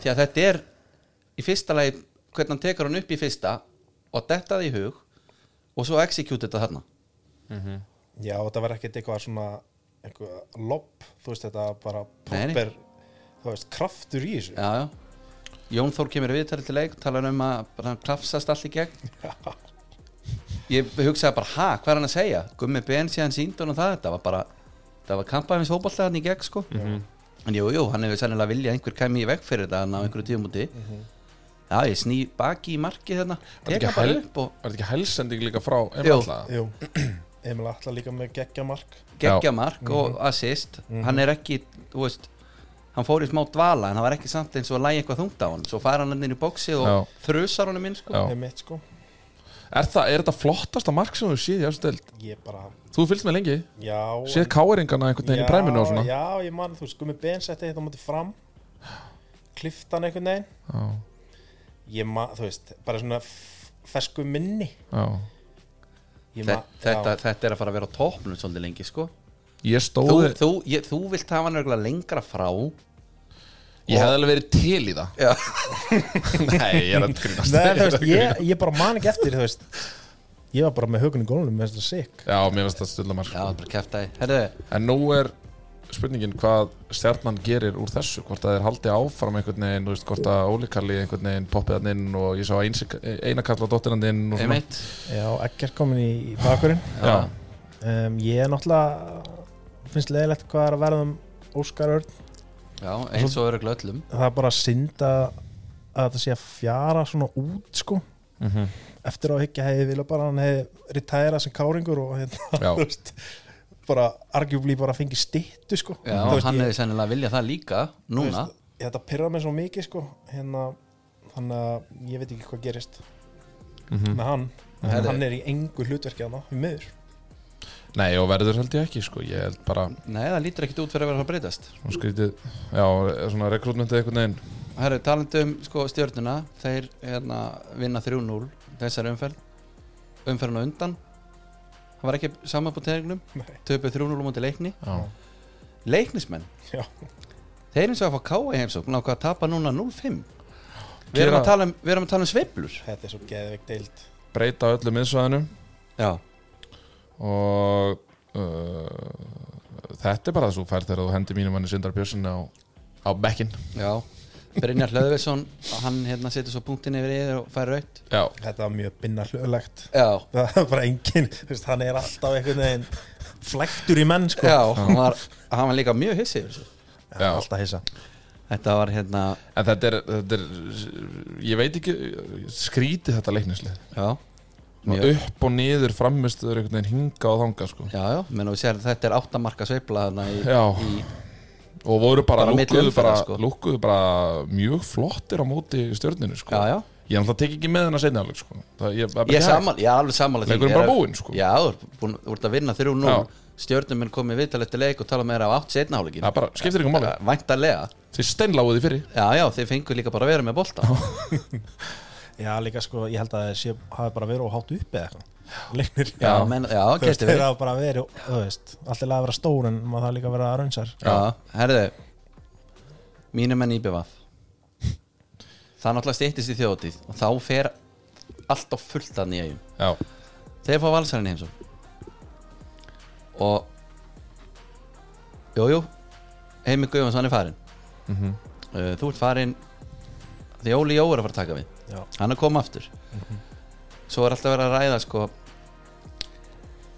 S2: því að þetta er í fyrsta lagi hvernig hann tekur hann upp í fyrsta og detta það í hug og svo execute þetta þarna
S6: Já, þetta var ekkert eitthvað svona eitthvað lopp, þú veist þetta var bara
S2: Nei, nei.
S6: proper, þú veist, kraftur í þessu
S2: já, já. Jón Þór kemur við til leik talar um að bara hann klafsast allt í gegn ég hugsaði bara ha, hvað er hann að segja Gummi Ben síðan síndi hann það þetta var bara, það var kampaðins fótbolta hann í gegn sko
S3: Mhm.
S2: en jú, jú, hann hefur sennilega viljað að einhver kæmi í veg fyrir þetta hann á einhverju tíðumúti já, ég sný baki í marki þarna
S3: Var þetta
S2: teka
S3: ekki
S2: bara
S3: hel-
S2: upp og
S3: Var þetta ekki helsending líka frá
S2: Jú.
S3: Emil
S6: Jú, Emil Atla líka með geggjamark
S2: geggja mark og assist hann er ekki, þú veist hann fór í smá dvala en hann var ekki samt eins og að lægi eitthvað þungt á hann svo fær hann hann inn í bóksið og
S3: Já.
S2: þrusar honum inn sko.
S3: Já.
S6: er mitt sko
S3: Er, það, er þetta flottasta mark sem þú séð í þessu deild?
S6: Ég bara,
S3: Þú fylgst með lengi
S6: já
S3: Séð káeringana einhvern veginn í præminu og svona
S6: Já, ég man, þú veist, gummi bensetti þetta á móti fram Kliftan einhvern veginn
S3: Já,
S6: Ég man, þú veist, bara svona f- fersku minni
S3: já.
S6: Ég
S2: Þe-
S6: man-
S2: þetta, [LAUGHS]
S6: já,
S2: þetta er að fara að vera á toppnum svolítið lengi sko.
S3: Ég
S2: þú,
S3: stóði
S2: þú, ég, þú vilt hafa hann örugglega lengra frá
S3: Ég hefði alveg verið til í það
S2: Já.
S3: Nei, ég er að grínast
S4: Nei, þú veist, ég, ég bara man ekki eftir, þú veist Ég var bara með hugunni gólunum, mér finnst það sick
S3: Já, mér finnst það stilla
S2: já,
S3: mark sko.
S2: það er bara kæftæði Herðu,
S3: En nú er spurningin hvað stjarnan gerir úr þessu Hvort að þeir haldi áfram einhvern veginn þú veist, Hvort að ólíkalli einhvern veginn poppið hann inn Og ég sá einakalla dóttinan inn og svona.
S2: einmitt
S4: Já, ekkert komin í í bakurinn
S3: Já,
S4: um, Ég er náttúrulega finnst leiðilegt hvað er að verða um Óskar Örn
S2: já, eins og örugglega öllum
S4: Það er bara synd að að þetta sé að fjara svona út sko
S2: Mhm,
S4: Eftir á að higgja hefði vilja bara að hann hefði retæra sem káringur og hérna,
S3: Já.
S4: [LAUGHS] þú veist bara arguably bara fengi stittu sko
S2: já,
S4: Þú veist,
S2: hann
S4: ég-
S2: hefði sennilega viljað það líka
S4: þú
S2: núna
S4: veist, Þetta pyrra mig svo mikið sko hérna, þannig að ég veit ekki hvað gerist
S2: mhm.
S4: með hann
S2: Herri.
S4: hann er í engu hlutverki hann í miður
S3: Nei, og verður held ég ekki sko. Ég held bara
S2: nei, það lítur ekkit út fyrir að vera að breytast
S3: svona skrítið Já, svona rekrútmentið einhvern veginn
S2: Herru, talandi um sko, stjörnuna þeir hérna, vinna 3-0 þessari umferð umferðin á undan það var ekki saman på tegnum
S6: Nei.
S2: töpuð 3-0 á móti leikni
S3: Já,
S2: leiknismenn
S6: Já.
S2: þeir eins og að fá káa í heimsókn ákvað að tapa núna 0-5 við
S3: Gera-
S2: erum, að tala um, við erum að tala um sveiflur
S6: Þetta er svo geðveik deild
S3: breyta öllu miðsvæðinu
S2: já,
S3: og uh, þetta er bara þessu færð þegar þú hendi mínum manni Sindar Björnsson á, á bekkin
S2: já Brynjar Hlöðvesson, hann hérna setur svo punktin yfir yfir og fær raut
S3: Já,
S6: Þetta var mjög binna
S4: [LAUGHS]
S6: hlöðlegt
S2: já,
S6: Það var bara engin,
S4: þú veist, hann er alltaf einhvern veginn flektur í menn sko
S2: já hann, var, hann var líka mjög hissið yfir þessu.
S3: já.
S4: alltaf hissa
S2: þetta var hérna
S3: en þetta er, þetta er ég veit ekki, skrítið þetta leiknislið
S2: já,
S3: Svona upp og niður framistuður einhvern veginn hinga og þanga sko.
S2: Já, já, menn og við sér þetta er áttamarka sveifla þarna í,
S3: Já.
S2: í
S3: og voru bara,
S2: Bara milli
S3: lúkkuðu, bara,
S2: umferðar, sko.
S3: lúkkuðu bara mjög flottir á móti stjörninu sko.
S2: Já, já,
S3: ég ætla að teki ekki með hennar seinna alveg sko. það, ég, það er bara
S2: ég er
S3: ekki hægt.
S2: saman, ég er alveg samanlega
S3: Leikurinn bara búinn, sko.
S2: Já, þú ert búinn- þú ert að vinna 3-0
S3: Já.
S2: Stjörnum minn komið viðtal eftir leik og tala meira á 8 setna
S3: það
S2: hálfleikin
S3: er bara, skiptir ykkur máli,
S2: Væntalega
S3: þið steinláðu því fyrir
S2: Já, já, þið fengur líka bara að vera með bolta
S4: já líka sko ég held að þessi hafi bara verið og hátt uppi eða eitthvað leiknir
S2: Já, menn, já,
S4: þú veist
S2: gæti
S4: þeir
S2: verið
S4: hafa bara verið þú veist alltaf að vera stór en maður þarf líka að vera raunsar
S2: Já, herðu Mínu menn íbjöfað Það náttúrulega stýttist í þjóðatíð og þá fer allt á fullt að nýja
S3: já,
S2: þeir fá valsarinn heimsum og jújú jú, Heimi Guðjóns hann er farinn uh, þú ert farinn því Óli Jó er að fara að taka við
S4: Já.
S2: hann er að koma aftur svo er alltaf verið að ræða sko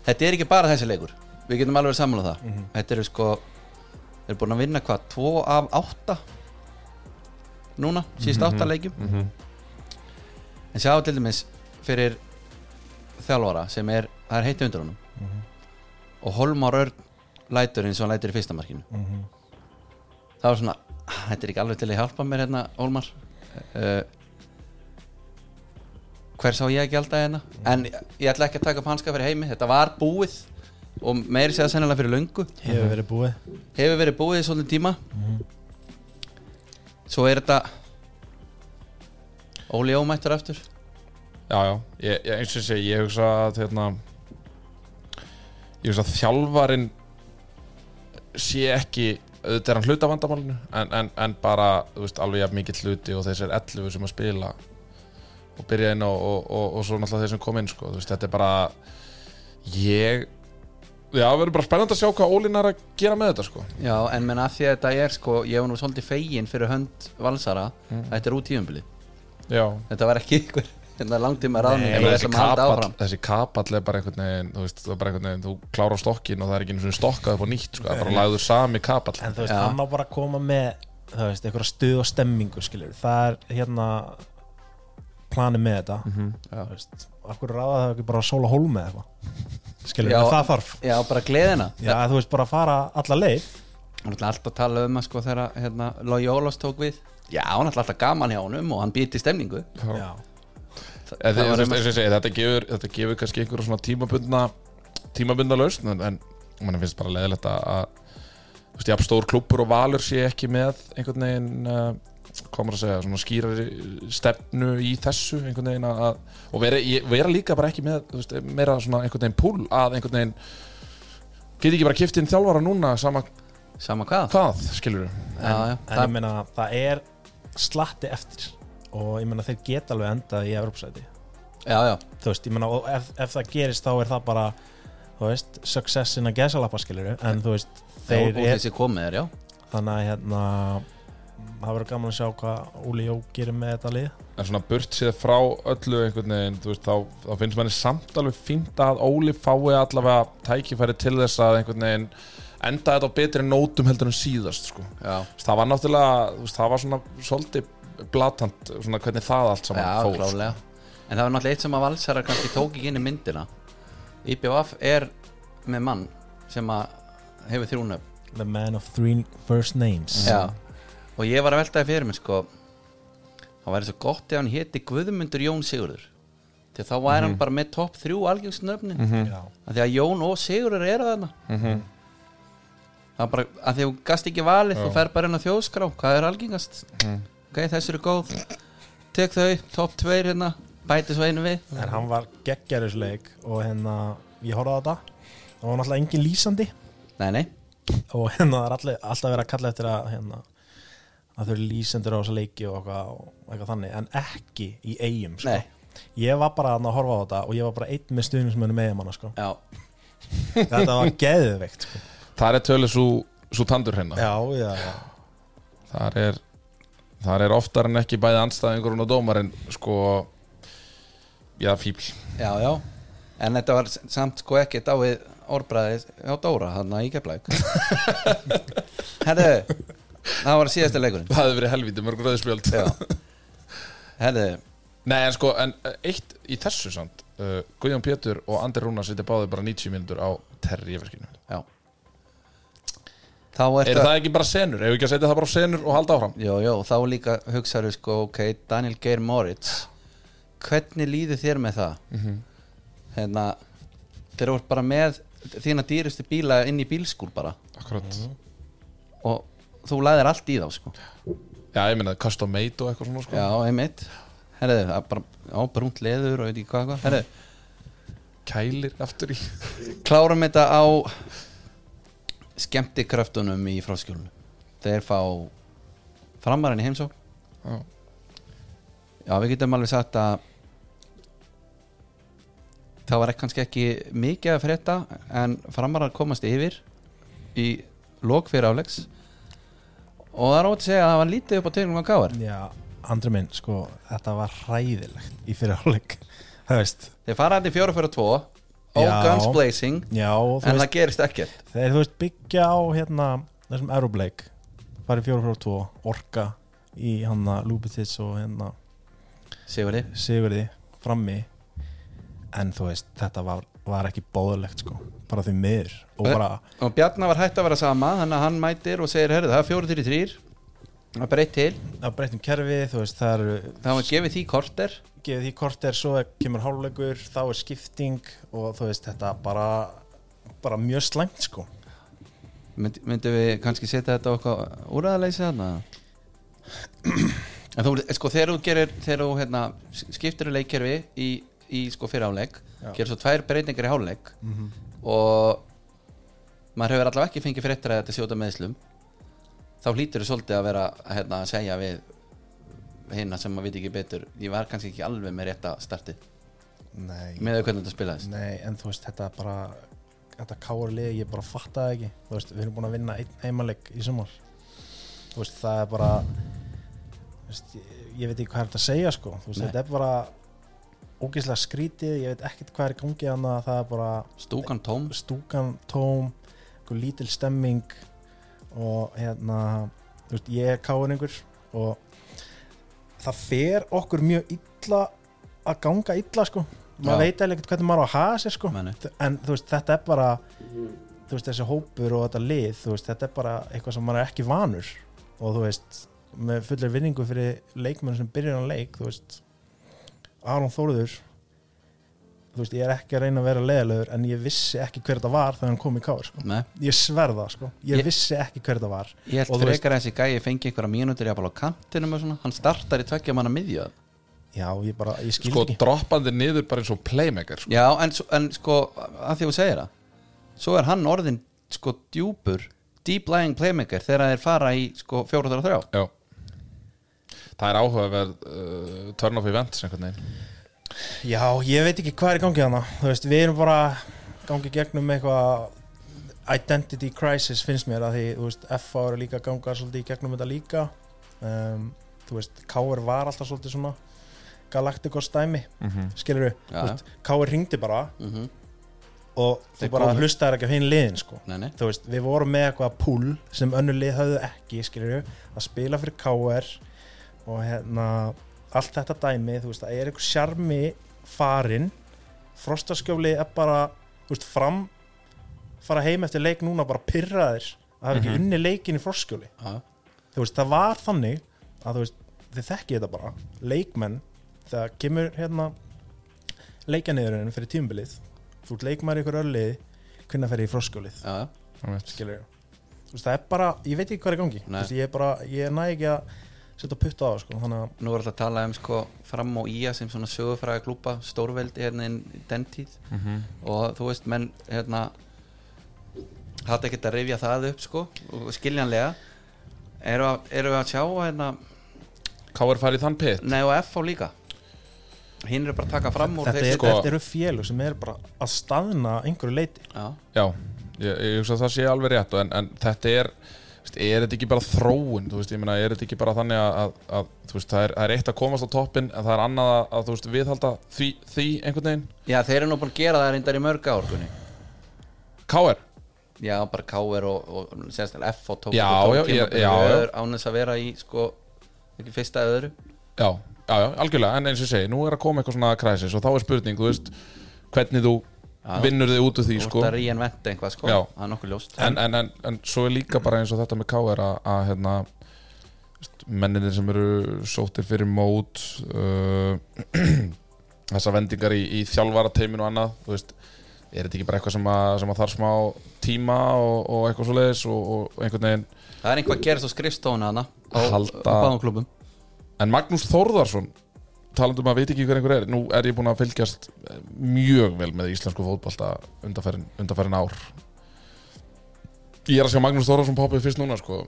S2: þetta er ekki bara þessi leikur við getum alveg að samla það
S4: Mhm,
S2: þetta eru sko þeir eru búin að vinna hvað 2 af 8 núna síðust 8 leikjum en sjá til dæmis fyrir þjálfara sem er, það er heitti undir honum og Holmar Örn lætur eins og hann lætur í fyrsta markinu
S4: mhm.
S2: það var svona "Ah, þetta er ekki alveg til að hjálpa mér hérna Holmar uh, hver sá ég ekki alltaf hérna en ég, ég ætla ekki að taka upp hanska fyrir heimi þetta var búið og meiri segja sennilega fyrir löngu
S4: hefur verið búið
S2: hefur verið búið í svolítið tíma svo er þetta Óli Ómættur aftur
S3: Já, já, ég, ég, eins og sé, ég hugsa að hérna, ég hugsa að þjálfarin sé ekki auðvitað er hann hluta vandamálinu en, en, en bara, þú veist, alveg jafn mikill hluti og þessir 11 sem að spila og byrja inn og, og, og, og svo náttúrulega þeir sem kom inn sko, þú veist, þetta er bara ég já, verður bara spennandi að sjá hvað Ólin er að gera með þetta sko.
S2: Já, en menn að því að þetta er sko, ég var nú svolítið fegin fyrir hönd Valsara,
S4: Mm.
S2: þetta er út tíumbili
S3: já,
S2: þetta var ekki ykkur [LAUGHS] hérna langtíma ráðning
S3: Nei,
S2: til þess
S3: þessi,
S2: að maður halda
S3: kapall,
S2: áfram
S3: þessi kapall er bara einhvern veginn þú veist, það er bara einhvern veginn, þú klárar stokkin og það er ekki einu svona stokkað upp á nýtt sko, það er bara lagður sami kapall
S4: en þú veist,
S2: Já.
S4: hann á bara að koma með þú veist, einhverja stuð og stemmingu skilur það er hérna planið með þetta mm
S2: Já.
S4: veist, af hverju ráða það ekki bara að sóla hólm eða eitthvað skilur,
S2: Já.
S4: það þarf
S2: Já, bara gleðina
S4: já, þú veist, bara að fara alla leið
S2: Hann er náttúrulega alltaf að tala um að sko þegar hérna, Logi Ólafs tók við Já, hann er náttúrulega alltaf gaman hjá honum og hann býti stemningu
S4: já,
S2: Þa,
S3: Eða,
S2: það
S3: eða,
S2: var
S3: eða,
S2: um að-
S3: eða, eða, þetta, gefur, þetta gefur kannski einhverja svona tímabundna tímabundna lausn en, en mann finnst bara leðilegt að, að þú veist, jafn stór klúppur og valur sé ekki með einhvern veginn uh, hvað maður að segja, svona skýrari stefnu í þessu einhvern veginn að að- og vera, ég- vera líka bara ekki með þú veist, meira svona einhvern veginn púl að einhvern veginn geti ekki bara kipt inn þjálfara núna sama
S2: Sama hvað?
S3: hvað, skilur
S2: Já, já,
S4: en ég meina, það er slatti eftir og ég meina, þeir geta alveg endað í Evropsæti
S2: já, já,
S4: þú veist, ég meina, og ef, ef það gerist þá er það bara, þú veist, success in a gæsalappa skilur, en þú veist
S2: þeir
S4: þeir
S2: og
S4: er,
S2: þessi komið er, já
S4: þannig að hérna það verður gaman að sjá hvað Úli Jó gerir með þetta lið
S3: en svona burt séð frá öllu einhvern veginn, þú veist, þá, þá finnst manni samt alveg fínt að Óli fái allavega tækifæri til þess að einhvern veginn enda þetta á betri nótum heldur en síðast, sko.
S2: Já,
S3: Þú veist, Það var náttúrulega, þú veist, það var svona svolítið blatant, svona hvernig það allt
S2: já
S3: saman fór. sko.
S2: klálega En það var náttúrulega eitt sem að Valsara kannski tók ekki inn í myndina IPVF er með mann sem að hefur þrjúnöf
S4: The man of three first names
S2: Já, og ég var að veltaði fyrir mér sko það væri svo gott ef hann héti Guðmundur Jón Sigurður þegar þá væri hann bara með topp þrjú algjöngsnöfnin mm
S4: Já.
S2: að því að Jón og Sigurður eru þarna það er bara að því að þú gast ekki valið þú fer bara inn á þjóðskrá, hvað er algengast ok, þessu eru góð tek þau, topp tveir hérna bæti svo einu við
S4: en hann var geggjarisleik og hérna, ég horfði á þetta það var náttúrulega engin lýsandi
S2: nei, nei,
S4: og hérna það er allir, alltaf verið að kalla eftir að hérna, að þau eru lýsendur á þessa leiki og eitthvað, og eitthvað þannig en ekki í eigum sko.
S2: nei,
S4: ég var bara þarna að horfa á þetta og ég var bara einn með stuðnismönnum eigamanna [LAUGHS] sko.
S2: já
S4: þetta var geðveikt sko.
S3: Það er tölur svo, svo tandur hérna.
S4: já, já, já
S3: þar er þar er oftar en ekki bæði anstæðingur og dómarinn, sko, já, fíbl.
S2: Já, já En þetta var samt sko ekki dáið orðbræðið hjá Dóra, hann að ég keflæk Herðu Það var síðasta leikurinn
S3: [LAUGHS] Það hefði verið helvítið mörg rauðspjöld.
S2: Já Herðu,
S3: Nei, en sko, en eh, eitt í þessu samt uh, Guðjón Pétur og Andri Rúnar sitja báðið bara 90 mínútur á terjifirkinu
S2: já Þá
S3: Er
S2: eftir
S3: það ekki bara senur? Ef við ekki að setja það bara á senur og halda áfram?
S2: Jó, jó, þá líka hugsaðu sko, ok, Daniel Geir Moritz Hvernig líður þér með það? Hérna Þeir voru bara með þína dýrustu bíla inn í bílskúr bara
S3: Akkurat
S2: og þú læðir allt í þá sko
S3: Já, ég meina, custom made og eitthvað svona sko
S2: Já, einmitt Herðu, það er bara ábrúnt leður og veit ekki hvað hvað Herðu,
S3: Kælir aftur í
S2: klárum þetta á skemmtikröftunum í fráskjólunum Þeir fá framarinn í heimsók
S3: Já.
S2: Já, við getum alveg sagt að það var ekki kannski ekki mikið að frétta en framarar komast yfir í lok fyrir álegs og það er ótt að segja að það var lítið upp á tegnum á káar
S4: Já, Andri minn, sko, þetta var hræðilegt í fyrirháleik Það veist,
S2: Þeir fara hann í fjóra fyrir tvo All
S4: Já.
S2: guns blazing
S4: já, þú
S2: En
S4: veist,
S2: það gerist ekkert
S4: þeir þú veist byggja á hérna, þessum Aerobleik farið fjóra fjóra og tvo, Orka í hana Lúbitits og hérna
S2: Sigurði
S4: Sigurði frammi en þú veist, þetta var, var ekki bóðulegt sko, bara því miður og bara,
S2: Og Bjarnar var hætt að vera sama Þannig að hann mætir og segir Herðu það er fjóra þyrir þrýr Það er breytt til
S4: að breytum kerfi þú veist, það eru
S2: Það var gefið því korter
S4: gefið því korter, svo kemur hálfleikur þá er skipting og þú veist, þetta bara bara mjög slæmt sko
S2: Mynd, Myndum við kannski setja þetta á okkar úræðaleysi þarna [CLEARS THROAT] En þú, sko, þegar þú gerir Þegar þú hérna, skiptir í leikkerfi Í, í sko fyrir áleik Gerir svo tvær breytingar í háleik Og maður hefur allavega ekki fengið fréttir að þetta sé út af meðslum þá hlýtur þú svolítið að vera hérna, að segja við hérna sem maður veit ekki betur ég var kannski ekki alveg með rétta startið
S4: Nei,
S2: með því hvernig þetta spilaðist
S4: Nei, en þú veist, þetta er bara þetta káarlið, ég bara fatta það ekki þú veist, við erum búin að vinna einn heimaleg í sumar þú veist, það er bara þú veist, ég, ég veit ekki hvað er þetta að segja sko, þú veist,
S2: Nei.
S4: þetta er bara ógeðslega skrítið, ég veit ekkert hvað er í gangi annað, það er bara
S2: stúkan tóm
S4: stúkan tóm einhver lítil stemming og hérna þú veist, ég er káuringur og það fer okkur mjög illa að ganga illa sko maður
S2: Já.
S4: veit eiginlega ekkert hvernig maður á að haga sér sko
S2: Nei, nei.
S4: en þú veist, þetta er bara þú veist, þessi hópur og þetta lið þú veist, þetta er bara eitthvað sem maður er ekki vanur og þú veist, með fullir vinningu fyrir leikmenn sem byrjar hann leik þú veist, Aron Þóruður þú veist, ég er ekki að reyna að vera leiðilegur en ég vissi ekki hver þetta var þegar hann kom í káir sko.
S2: Nei.
S4: ég sverða, sko, ég,
S2: Ég-
S4: vissi ekki hver þetta var
S2: ég
S4: Og
S2: held
S4: þú veist-
S2: frekar að þessi gæi fengi einhverja mínútur jafnvel á kantinum og svona hann startar í tveggja manna miðju
S4: já, ég bara, ég skil
S3: sko
S4: ekki
S3: droppandi niður bara eins og playmaker sko.
S2: já en, svo- en sko að því að þú segir það svo er hann orðin sko djúpur deep lying playmaker þegar þeir fara í sko 4-3
S3: já það er áhugaverð uh, turn off events einhvern veginn
S4: Já, ég veit ekki hvað er í gangi þannig Þú veist, við erum bara gangi gegnum eitthvað identity crisis finnst mér að því, þú veist, FA eru líka að ganga svolítið í gegnum þetta líka um, Þú veist, KR var alltaf svolítið svona Galacticos dæmi skilur við,
S2: Já.
S4: þú veist, KR ringdi bara
S2: mm -hmm.
S4: og þú
S2: Þeir
S4: bara
S2: komu.
S4: hlustaðir ekki á hinn liðin sko
S2: nei, nei.
S4: þú veist, við vorum með eitthvað púl sem önnur lið höfðu ekki, skilur að spila fyrir KR og hérna, allt þetta dæmi þú veist, það er einhver sjarmi farinn, frostaskjóli er bara, þú veist, fram fara heim eftir leik núna bara pyrraðir að hafa ekki unni leikin í frostaskjóli
S2: Já.
S4: þú veist, það var þannig að þú veist, þið þekkið þetta bara leikmenn, það kemur hérna leikjaniðurinn fyrir tímbilið, þú ert leikmæri ykkur örlið, hvernig fer ég í frostaskjólið
S2: Já, já.
S4: skilur þú veist það er bara, ég veit ekki hvað er í gangi Þú
S2: Nei.
S4: veist, ég er bara, ég næ ekki að setja putta á það sko, þannig að
S2: nú er alltaf að tala um sko fram og ía sem svona sögufræða klúpa stórveld hérna inn í den tíð og þú veist menn hérna hatt ekkert að rifja það upp sko og skiljanlega eru að, eru að sjá hérna
S3: KR farið í þann pit
S2: Nei og F á líka Hinn er bara að taka fram úr
S4: þetta,
S2: þeir-
S4: er,
S3: sko-
S4: þetta eru félug sem er bara að staðna einhverju leiti
S2: Já,
S3: já, ég, ég hugsa að það sé alveg rétt en, en þetta er veist, er þetta ekki bara þróun þú veist, ég meina, er þetta ekki bara þannig að, að, að þú veist, það er, það er eitt að komast á toppin en það er annað að, að þú veist, viðhalda því, því einhvern veginn,
S2: Já þeir eru nú búin að gera það reyndar í mörg ár kunni.
S3: KR
S2: Já bara KR og, og sérstaklega F á tók
S3: Já,
S2: tók
S3: já,
S2: tímabilið
S3: já, já.
S2: í öðru án þess að vera í sko ekki fyrsta eða öðru
S3: já, já, já, algjörlega, en eins og ég segi nú er að koma eitthvað svona kræsis og þá er spurning þú veist, hvernig þú vinnur þig út úr því,
S2: Þú
S3: sko
S2: ert að reinventa eitthvað sko
S3: Já.
S2: Það er nokkuð ljóst
S3: en, en, en, en svo er líka bara eins og þetta með KR að, að hérna menninir sem eru sóttir fyrir mót uh, [CLEARS THROAT] þessar vendingar í, í þjálfarateiminu og annað þú veist, er þetta ekki bara eitthvað sem að, sem að þarf smá tíma og, og eitthvað svoleiðis og, og einhvern veginn
S2: Það er einhvað að gera svo skrifstóna hana á,
S3: Halda-
S2: á báðum klubum
S3: En Magnús Þórðarsson talandum að veit ekki hver einhver er nú er ég búinn að fylgjast eh, mjög vel með íslensku fótbolta undanferðin, undanferðin ár Ég er að sjá Magnús Þórðarsson poppið fyrst núna sko,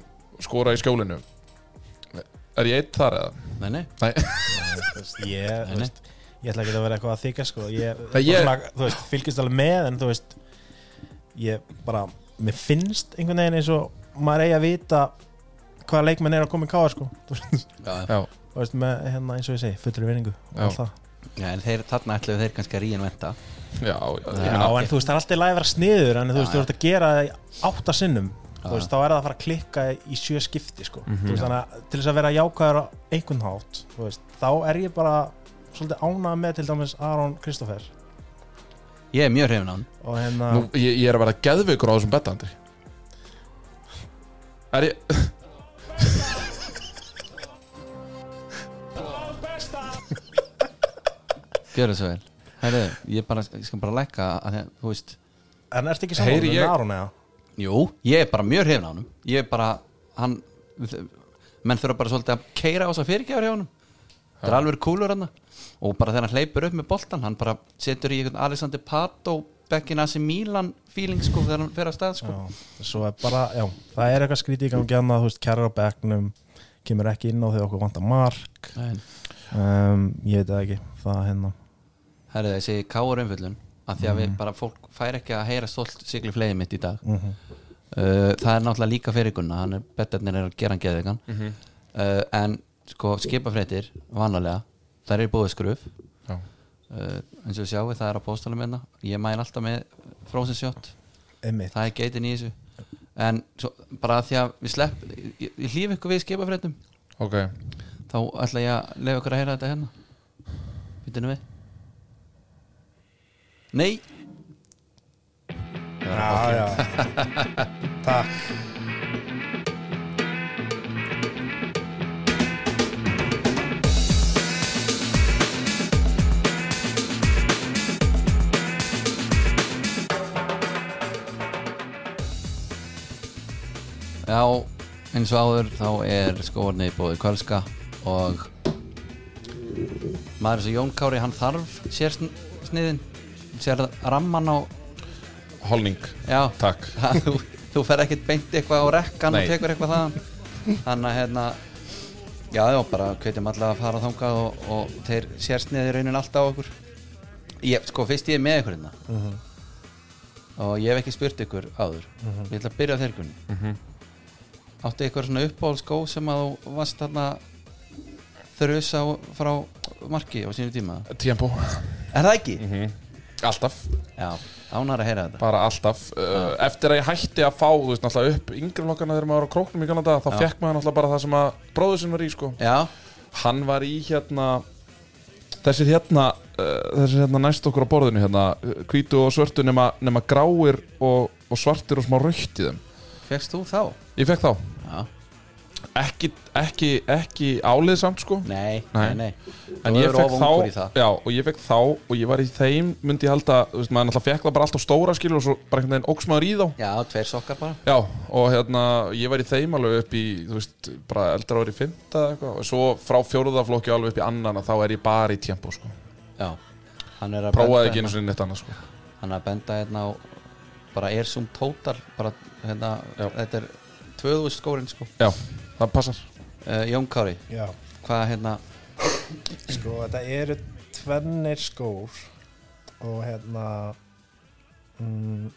S3: skora í skjólinu Er ég eitt þar eða?
S2: Nei, nei,
S4: Þú veist, ég,
S2: Nei,
S4: þú veist, ég ætla ekki að vera eitthvað að þykja sko, ég,
S3: Nei, ég-
S4: svona, þú veist, fylgist alveg með en þú veist, ég bara mér finnst einhvern veginn eins og maður eigi að vita hvaða leikmenn er að koma í káa sko, [LAUGHS] þú veist,
S2: já,
S3: Já,
S4: þú veist, með hérna eins og ég segi, fullri vinningu og
S3: Já.
S4: allt það
S2: já, en þeir, þarna ætluðu þeir kannski að reinventa
S3: já, já,
S4: Já,
S3: ég meina,
S4: en þú veist, það er alltaf læg að vera sniður en þú veist, þú ert að gera það í átta sinnum þú veist, þá er það að fara að klikka í sjö skipti sko. þú veist, þannig að til þess að vera jákvæður á einhvern hátt, þú veist, þá er ég bara svolítið ánað með til dæmis Aron Kristoffer
S2: Ég er mjög hrifin á hann
S4: og hérna,
S3: nú, ég, ég er að vera geðveikur á þessum bettandri Er ég
S2: Gjörðu svo vel Herðu, ég, bara, ég skal bara lækka að, að- þú veist
S4: en ertu ekki
S3: Heyri
S4: saman
S3: ég-
S4: með Aron eða?
S2: Jú, ég er bara mjög hrifin á honum Ég er bara, hann menn þurfa bara svolítið að keira á þess að fyrirgjafur hjá honum Það er alveg kúlur hann og bara þegar hann hleypur upp með boltan hann bara setur í einhvern Alexander Pato bekkin að sem Milan feeling sko þegar hann fer að stað sko
S7: svo er bara, já, það er eitthvað skrítið í gangi
S4: hérna,
S7: annað, þú veist, kærar á bekknum kemur ekki inn á þegar okkur vantar mark
S2: Nei.
S7: um, ég veit það ekki það hérna,
S2: Herðu þessi káur umfjöllun að því að við bara fólk fær ekki að heyra stolt sigli fleiði mitt í dag
S4: mhm.
S2: uh, það er náttúrulega líka fyrir Gunna hann er betarnir er að gera hann geðvegan uh, en sko skipafréttir vanalega, það er búið skruf
S3: Já.
S2: uh, eins og sjáu það er á póstalum hérna, ég mæn alltaf með frozen shot,
S7: einmitt
S2: það er geitin í þessu en svo, bara af því að við slepp ég, ég hlýf ykkur við skipafréttum
S3: ok
S2: þá ætla ég að leifa ykkur að heyra þetta hérna Býtum við Nei
S4: Já, já Takk
S2: Já, eins og áður þá er skóarni bóði Kölska og maður sem Jón Kári hann þarf sér sn- sniðin sér ramman á
S3: holning,
S2: já,
S3: takk
S2: það- þú, þú fer ekkert beint eitthvað á rekkan
S3: Nei.
S2: og tekur eitthvað þaðan þannig að hérna já, já, bara hvetjum alla að fara þangað og, og þeir sér sniði raunin alltaf á okkur ég, sko, fyrst ég er með ykkur hérna og ég hef ekki spurt ykkur áður ég ætla að byrja á þeir gunni áttu ykkur svona uppáhaldskó sem að þú varst þarna þrjusa frá marki á sínum tíma
S3: tempo,
S2: er það ekki?
S3: alltaf
S2: já, ánar að heyra þetta
S3: bara alltaf uh, eftir að ég hætti að fá, þú veist, náttúrulega upp yngri flokkana þegar maður var á króknum í Kanada þá fekk maður náttúrulega bara það sem að bróður sinn var í sko.
S2: já,
S3: hann var í hérna þessir hérna uh, þessir hérna næst okkur á borðinu hérna uh, hvítu og svörtu nema, nema gráir og, og svartir og smá raukt í þeim
S2: fegst þú þá?
S3: ég fekk þá,
S2: já,
S3: ekki, ekki, ekki álið samt sko
S2: nei,
S3: Nei.
S2: nei, nei.
S3: en
S2: Þú
S3: ég
S2: hefur
S3: fekk
S2: of ungur í
S3: þá,
S2: það.
S3: já, og ég fekk þá og ég var í þeim, myndi ég halda þú veist, maður náttúrulega fekk það bara alltaf stóra skilur og svo bara einhvern veginn óksmaður í þá
S2: Já, tveir sokkar bara
S3: Já, og hérna, ég var í þeim alveg upp í, þú veist, bara eldra ári í fymta eða eitthvað, og svo frá fjóruðaflokki alveg upp í annan að þá er ég bara í tempo, sko.
S2: Já, hann er að
S3: Prófaði ekki
S2: hérna-
S3: einu sinni neitt annað, sko.
S2: Hann er að benda hérna á bara er sum tótar bara, hérna,
S3: Já.
S2: þetta er 2000 skórin sko
S3: Já, það passar.
S2: uh, Jón Kári,
S4: Já,
S2: hvað hérna
S4: sko, þetta eru tvennir skór og hérna mm,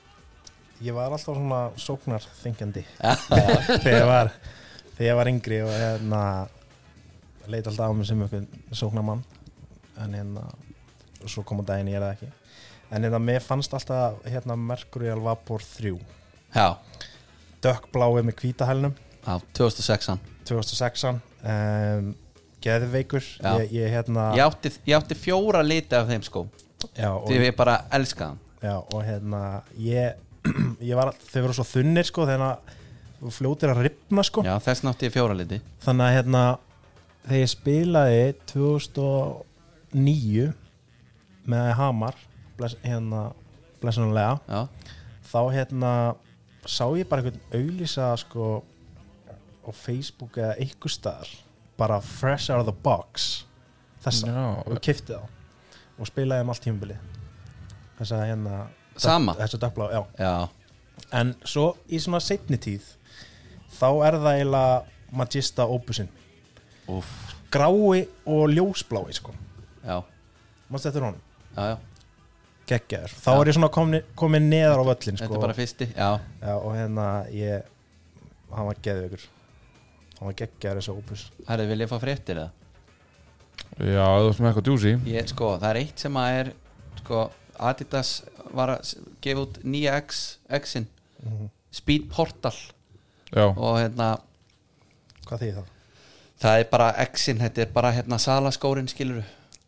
S4: ég var alltaf svona
S2: [LAUGHS]
S4: sóknarþengjandi þegar ég var þegar ég var yngri og hérna leita alltaf á mig sem einhvern sóknarmann en hérna og svo kom að daginn ég er það ekki en hérna, mér fannst alltaf hérna Mercurial Vapor 3
S2: Já,
S4: dökkblái með hvítahælnum
S2: á 2006an
S4: 2006an um, geðveikur
S2: Já.
S4: ég, ég hérna
S2: ég, átti, ég átti fjóra liti af þeim sko
S4: já, og,
S2: Því ég bara elska hann
S4: já, og hérna ég, [CLEARS THROAT] ég var, þau voru svo þunnir sko þannig að þú fljótir að ripna sko
S2: Já, þess nátti ég fjóra liti
S4: þannig að hérna þegar ég spilaði 2009 með Hamar bless, hérna, blessunlega
S2: Já,
S4: þá hérna sá ég bara einhvern auglýsa sko á Facebook eða einhver staðar bara fresh out of the box þessa
S3: Já,
S4: og kifti þá og spilaði um allt tímabili þessa hérna
S2: Sama?
S4: þessa dökkblá, já
S2: já,
S4: en svo í svona setni tíð þá er það eiginlega Magista Opusin
S2: úff
S4: grái og ljósblái sko
S2: Já,
S4: mannst eftir honum
S2: já, já,
S4: geggjaður þá er ég svona komin, komin neðar á völlin
S2: þetta
S4: sko
S2: er bara fyrsti Já,
S4: já, og hérna ég hann var geðvökur hann var geggjaður þessi Opus
S2: herri, vil ég fá fréttir eða?
S3: já þú veist með eitthvað djúsi.
S2: Ég, sko, það er eitt sem að er sko, Adidas var að s- gefa út 9X X-in Speed Portal
S3: Já,
S2: og hérna
S4: hvað þýðir það?
S2: það er bara X-in, þetta er bara hérna salaskórin skilur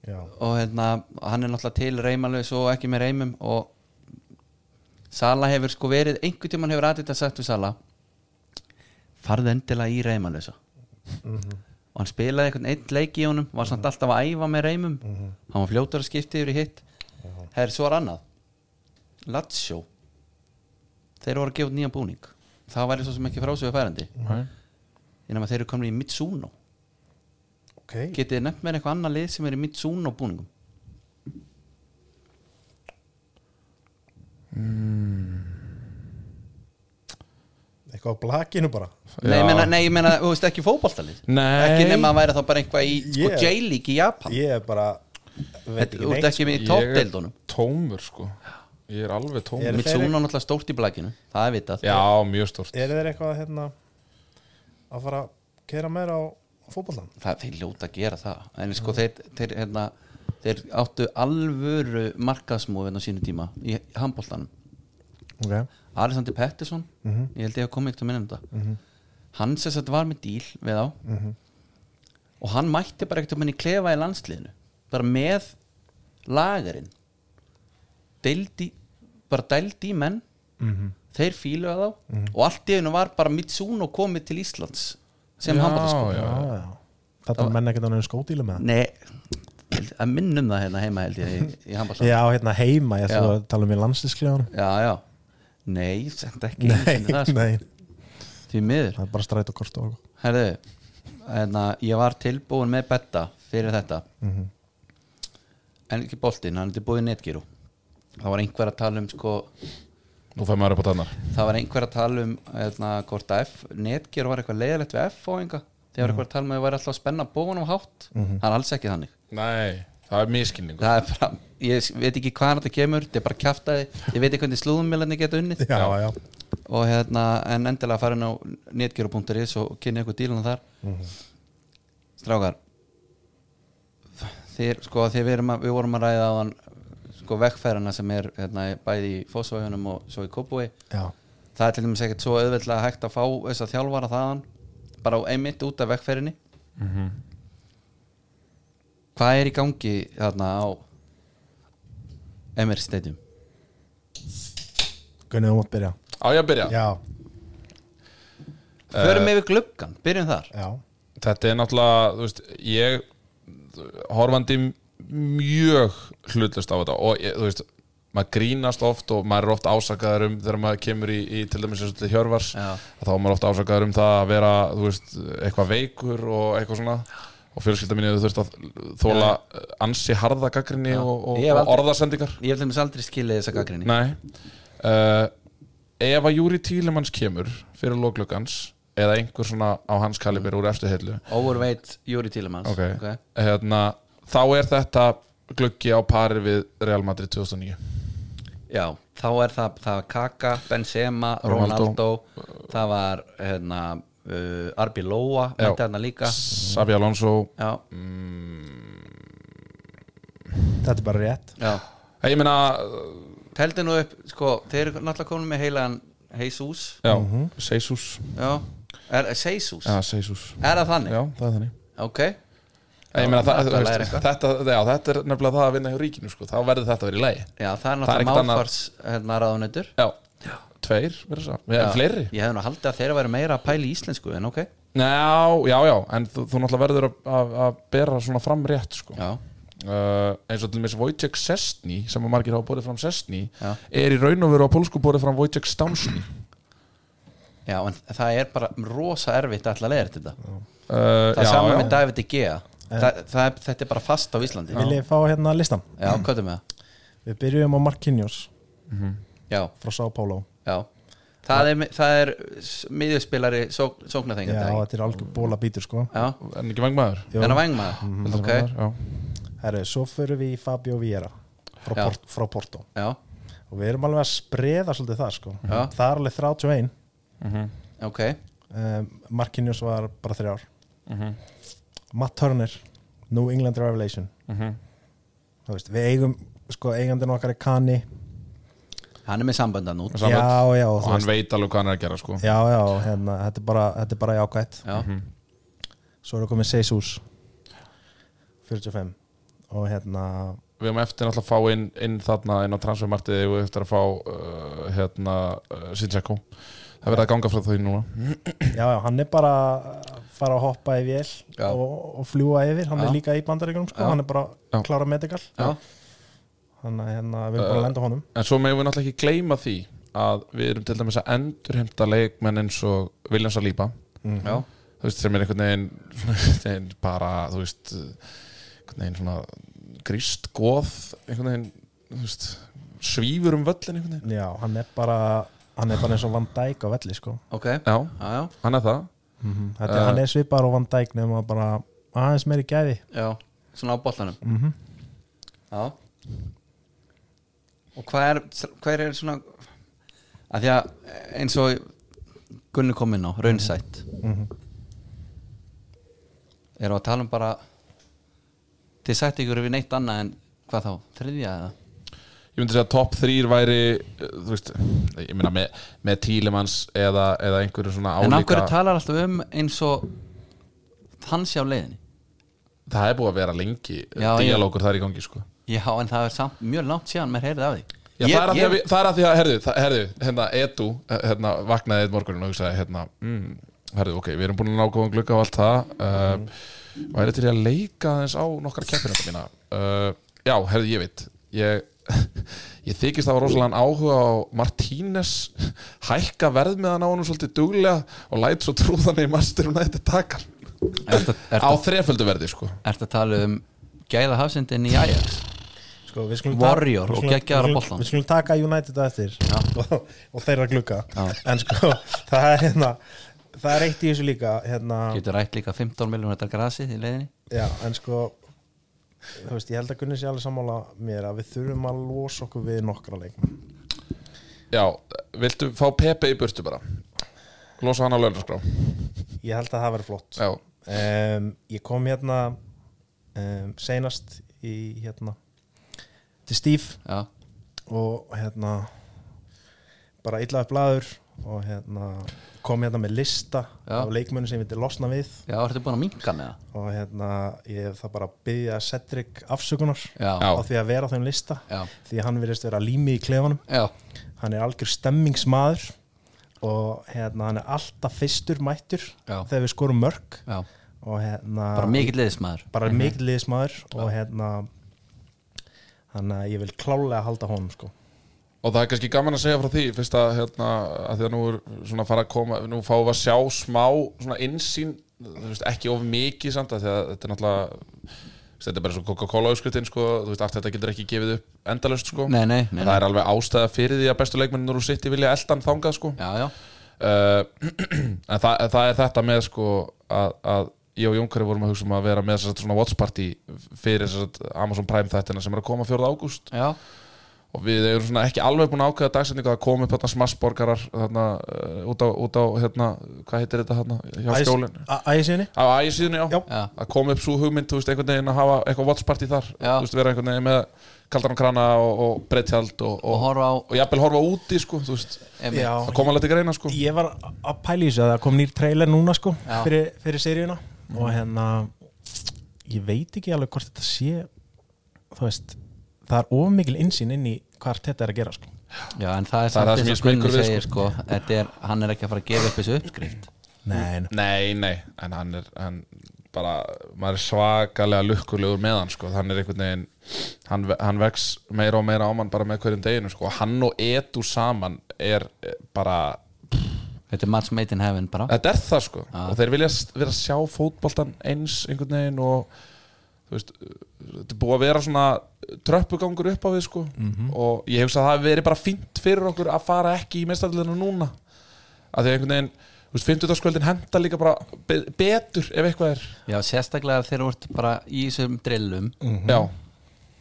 S4: já,
S2: og hérna hann er náttúrulega til reymalus og ekki með reymum og Sala hefur sko verið einhvern tímann hefur Adidas sagt við Sala farð endilega í reymalusa og hann spilaði einhvern einn leik í honum var samt alltaf að æfa með reymum hann var fljótur að skipta yfir í hitt það er svo er annað Latsjó þeir voru að gefa út nýjan búning það væri svo sem ekki frásöðu færandi
S3: Nei.
S2: innan að þeir eru komin í Mitsuno
S4: ok
S2: getið þið nefnt mér eitthvað annað lið sem er í Mitsuno búningum
S4: eitthvað á blakinu bara
S2: Nei, ég
S3: Já.
S2: meina, nei, ég meina, þú veist ekki fótboltalið
S3: Nei.
S2: Ekki nema að væri þá bara einhvað í sko,
S4: Ég-
S2: J-League í Japan
S4: ég er bara
S2: Þetta
S4: veit ekki
S2: Þú ert
S4: neitt
S2: ekki með í
S3: sko. Ég er
S2: toppdeildunum
S3: tómur sko Ég er alveg tómur
S4: Eru þeir-
S2: Mitsuna náttúrulega stórt í blækinu Það er vitað
S3: Já, mjög stort
S4: eru þeir eitthvað hérna að fara að keira meira á fótbollan
S2: það, þeir ljóta að gera það en sko þeir, þeir, hérna, þeir áttu alvöru markaðsmóðin á sínu tíma í handbóltanum
S4: okay.
S2: Alexander Pettersson,
S4: Mhm.
S2: ég held ég að koma ekkert að minna um þetta hann sem sagt var með díl við á
S4: Mhm.
S2: og hann mætti bara ekkert að minna í klefa í landsliðinu bara með lagarinn deildi bara dældi í menn
S4: Mhm.
S2: þeir fíluða þá og allt í einu var bara Mitsuno komið til Íslands sem
S3: Já,
S2: handbóltaskóla
S3: já, já.
S4: þetta er menn ekkert á nefnum skódílu með um það
S2: Nei, held- að minnum það hérna heima held ég í, í handbólta
S4: já hérna heima ég ætla
S2: Já.
S4: að tala um í landslísklefanum
S2: já, já Nei, senda ekki einu
S4: nei,
S2: sinni það, sko.
S4: nei
S2: Því miður
S4: það er bara stræt og kort og
S2: Herðu, hérna, ég var tilbúin með betta fyrir þetta En ekki boltinn, hann er tilbúin netgíru Það var einhver að tala um sko,
S3: Nú fær maður upp á tannar
S2: Það var einhver að tala um hérna, hvort að F, netgíru var eitthvað leiðilegt við F og einhver Þegar var einhver að tala um að það væri alltaf að spenna bóðan á hátt Það er alls ekki þannig
S3: Nei, það er miskinningur
S2: það er bara, ég veit ekki hvaðan þetta kemur þetta er bara kjaftaði, ég veit ekki hvernig slúðumilani geta unnið
S4: já já, já.
S2: og hérna, en endilega farin á netgeru.is og kynni ykkur dílana þar strákar þeir, sko, þeir við, erum að, við vorum að ræða á hann sko vekkferðina sem er hérna, bæði í Fossvæðunum og svo í Kópúi
S4: já.
S2: það er til dæmis ekkert svo auðveldlega hægt að fá þess að þjálfara þaðan bara á einmitt út af vekkferðinni hvað er í gangi þarna á Emir Stadium
S4: Gunni þú mátt byrja
S3: Á ég að byrja
S4: já
S2: förum yfir gluggan, byrjum þar
S4: já
S3: Þetta er náttúrulega, þú veist, ég horfandi mjög hlutlust á þetta og ég, þú veist, maður grínast oft og maður er oft ásakaður um þegar maður kemur í, í til dæmis eins og til Hjörvars
S2: Já.
S3: að þá er maður oft ásakaður um það að vera, þú veist, eitthvað veikur og eitthvað svona og fjölskylda minni þú veist að þóla ansi harða gaggrinni og, og,
S2: Ég hef
S3: og
S2: aldrei-
S3: orðasendingar
S2: ég hef til dæmis aldrei skilið þessa gaggrinni
S3: Nei uh, Ef að Júri Tílemanns kemur fyrir lóklugans eða einhver svona á hans kalibir úr eftir heilu
S2: overweight Júri Tílemans
S3: Ok. Hérna, þá er þetta gluggi á pari við Real Madrid 2009
S2: já, þá er það, það var Kaka, Benzema,
S3: Ronaldo.
S2: Ronaldo, það var hérna, uh, Arbi Lóa
S3: Já. Mm.
S2: mætti hérna líka
S3: Sabi Alonso
S2: já,
S4: þetta er bara rétt
S2: já
S3: Eh, Ég meina,
S2: Teldi nú upp, sko, þeir eru náttúrulega komin með heilaðan Heysús
S3: já, mm -hmm. Seisus
S2: Já, er Seysús?
S3: Já, Seisus
S2: Er það þannig?
S3: Já, það er þannig
S2: Ok,
S3: Eh, Ég meina, það,
S2: þetta lærir
S3: þú veist,
S2: eitthvað.
S3: þetta, já, þetta er nefnilega það að vinna hjá ríkinu sko. þá verður þetta að vera í lagi
S2: já, það er
S3: Það er
S2: náttúrulega
S3: ekkert annað-
S2: máfars hérna ráðunautur
S3: Já, tveir, verður það Já, fleiri
S2: Ég hef nú haldið að þeirra væri meira að pæla í íslensku en ok
S3: Já, já, já, en þú, þú náttúrulega verður að, að, að bera svona fram rétt sko.
S2: Já,
S3: uh, eins og til með Wojciech Sestni sem að margir hafa borðið fram Sestni
S2: Já.
S3: er í raun og veru á pólsku borðið fram Wojciech Stansni
S2: já en það er bara rosa erfitt alltaf að leiða þetta
S3: uh,
S2: Það er saman með
S3: já,
S2: David Gea það, það, er- Þetta er bara fast á Íslandi Já,
S4: vil ég fá hérna listan
S2: já hvað er með það?
S4: við byrjum á Marquinhos
S2: Já,
S4: frá São Paulo
S2: já Það er, það er s- miðjuspilari sók,
S4: já
S2: sóknarþengjandi
S4: þetta er algjör bóla bítur sko
S2: Já,
S3: en ekki vangmaður
S4: Jú. Mhm,
S2: þennan vangmaður Ok,
S3: já.
S4: Herru, svo förum við í Fabio Vieira frá,
S2: Já.
S4: port, frá Porto
S2: já,
S4: og við erum alveg að spreða svolítið það sko.
S2: Já.
S4: það er alveg 31
S2: ok
S4: um, Marquinhos var bara þrjár Matt Turner New England Revelation Þú veist, við eigum sko, eigandinn okkar er Kani
S2: Hann er með sambandan út
S3: Saman-
S4: já, já,
S3: og
S4: þú
S3: hann
S4: veist,
S3: veit alveg hvað hann er að gera sko.
S4: já, já hérna, þetta, er bara, þetta er bara jákvætt
S2: Já,
S3: Mhm.
S4: svo er komið Seisus 45 og hérna
S3: við höfum eftir náttúrulega að fá inn, inn þarna inn á transfermartiði og eftir að fá uh, hérna uh, Sinchako það verður að ganga frá því núna
S4: já, já, hann er bara að fara að hoppa í vél
S2: Já.
S4: og, og fljúa yfir, hann
S2: Já.
S4: er líka í bandaríkunum sko.
S2: Já.
S4: hann er bara
S3: Já.
S4: að klára medical
S2: já,
S4: þannig að hérna, við erum bara að lenda á honum
S3: en svo meðum við náttúrulega ekki gleyma því að við erum til dæmis að endurheimta leikmenn eins og Williams að lípa
S2: já
S3: þú veist, sem er einhvern veginn, svona einhvern veginn bara, þú veist einhvern veginn svona gríst goð einhvern veginn, þú veist svífur um völlin einhvern veginn
S4: Já, hann er bara hann er bara eins og Van Dijk á velli sko.
S2: ok,
S3: Já,
S2: já, já,
S3: hann er það
S2: Mm.
S4: Þetta, uh, hann er svipar á Van Dijk nema bara aðeins meiri gæði
S2: já svona á bollanum -hmm.
S3: Mhm.
S2: já og hvað er hvað er svona að því að eins og Gunni kom inn á, raunsætt
S3: Mhm.
S2: erum við að tala um bara þið sætt ykkur við neitt annað en hvað þá, þriðja eða
S3: Ég myndi segja að top 3 væri uh, þú veist, ég meina með, með Tílemanns eða, eða einhverju svona
S2: en af hverju
S3: álíka
S2: talar alltaf um eins og hann sé á leiðinni
S3: Það er búið að vera lengi
S2: Já, ég-
S3: dialógur þar í gangi sko
S2: já, en það er samt mjög langt síðan mér heyrði af því
S3: Já, það, er að því að við, það er að því að, herðu, það, herðu hérna, Edu, hérna, vaknaði einn morgunin og hugsaði, hérna, mm, herðu, ok, við erum búin að ná góðan glugga og allt það uh, væri til í að leika aðeins á nokkra keppinu þetta mína uh, Já, herðu, ég veit ég, [LAUGHS] ég þykist það var rosalega áhuga á Martínez hækka verð með hann á hann svolítið duglega og læt svo trúðan í master hún að þetta takar
S2: Ertu
S3: á
S2: ertu-
S3: þreföldu verði, sko
S2: ertu að tala um gæða hafsendin í Ajax
S4: sko, við skulum
S2: Warrior
S4: við
S2: og
S4: skulum-
S2: geggjaðar á
S4: við skulum-
S2: boltann.
S4: Við skulum taka United á eftir [LAUGHS] og, og þeirra glugga en sko, [LAUGHS] það er hérna það er eitt í þessu líka hérna,
S2: getur rætt líka 15 miljonar grasið í leiðinni
S4: já, en sko þú veist, ég held að Gunni sé alveg sammála mér að við þurfum að losa okkur við nokkra leikmenn
S3: Já, viltu fá Pepe í burtu bara losa hann á launaskrá
S4: ég held að það verður flott
S3: Já,
S4: um, ég kom hérna um, seinast í hérna til Steve
S2: já,
S4: og hérna bara illaði blaður og hérna kom hérna með lista
S2: Já.
S4: af leikmönnum sem ég vildi losna við
S2: já, ertu búin að minka með það
S4: og hérna ég hef það bara að byggja Cedric afsökunar
S2: já,
S3: Já.
S4: á því að vera á þeim lista
S2: Já.
S4: því að hann virðist vera lími í klefanum
S2: já,
S4: hann er algjör stemmingsmaður og hérna hann er alltaf fyrstur mættur
S2: Já.
S4: þegar við skorum mörg
S2: já.
S4: og hérna
S2: bara mikill Mhm. liðismæður
S4: bara mm -hmm. mikil liðsmaður og hérna þannig að ég vil klálega halda honum sko
S3: Og það er kannski gaman að segja frá því fyrst að, hérna, að því að nú er svona að fara að koma nú fáum við að sjá smá svona innsýn þú veist, ekki of mikið samt að því að þetta er náttúrulega þú veist, þetta er bara svo Coca-Cola auskritin sko, þú veist, allt þetta getur ekki gefið upp endalaust sko
S2: nei, nei, nei, nei.
S3: það er alveg ástæða fyrir því að bestu leikmennir úr sitt í vilja eldan þangað sko
S2: já, já,
S3: uh, [CLEARS THROAT] en það, það er þetta með sko að, að ég og Jónkari vorum að hugsa um að vera með þess að svona watch party fyrir þess að Amazon Prime þættina sem er að koma 4. ágúst
S2: já,
S3: og við erum svona ekki alveg búin að ákveða dagsetningu að koma upp þarna smassborgarar þarna uh, út á, út á hérna, hvað heitir þetta þarna hjá skólinn
S4: Ægisíðinni
S3: á ægisíðunni já,
S4: Já.
S2: Já.
S3: að koma upp svo hugmynd þú veist, einhvern veginn að hafa eitthvað watch party þar
S2: Já.
S3: þú veist, vera einhvern veginn með kaldan og krana og, og breyttjald og,
S2: og horfa á
S3: og jafnvel horfa úti sko, þú veist,
S2: emi,
S4: Já,
S3: það koma alveg til greina sko.
S4: ég var að pæla í þessu að það kom nýr trailer núna sko
S2: Já. Mhm.
S4: fyrir, fyrir seríuna og hérna ég veit ekki alveg hvort þetta sé þú veist það er of mikil insýn inn í hvað þetta er að gera sko
S2: já, en það er
S3: það
S2: samt
S3: sem
S2: eins og
S3: ég smeykur
S2: Gunni
S3: við,
S2: segir sko, þetta er, hann er ekki að fara að gefa upp þessu uppskrift
S4: Nei, nei.
S3: Nei, nei, en hann er hann bara, maður er svakalega lukkulegur með hann, sko, hann er einhvern veginn hann, ve- hann vex meira og meira á mann bara með hverjum deginu, sko, hann og Edu saman er eh, bara
S2: þetta er match made in heaven bara
S3: þetta er það, sko, og þeir vilja s- vera að sjá fótboltan eins einhvern veginn og þú veist, eh, þetta er búið að vera svona tröppugangur upp á við, sko
S2: Mhm.
S3: og ég hefst að það hafi verið bara fínt fyrir okkur að fara ekki í mestarleginu núna að því að einhvern veginn, þú veist, 50. skvöldin henda líka bara be betur ef eitthvað er
S2: já, sérstaklega þegar þú ert bara í þessum drillum
S3: Já,
S2: Mhm.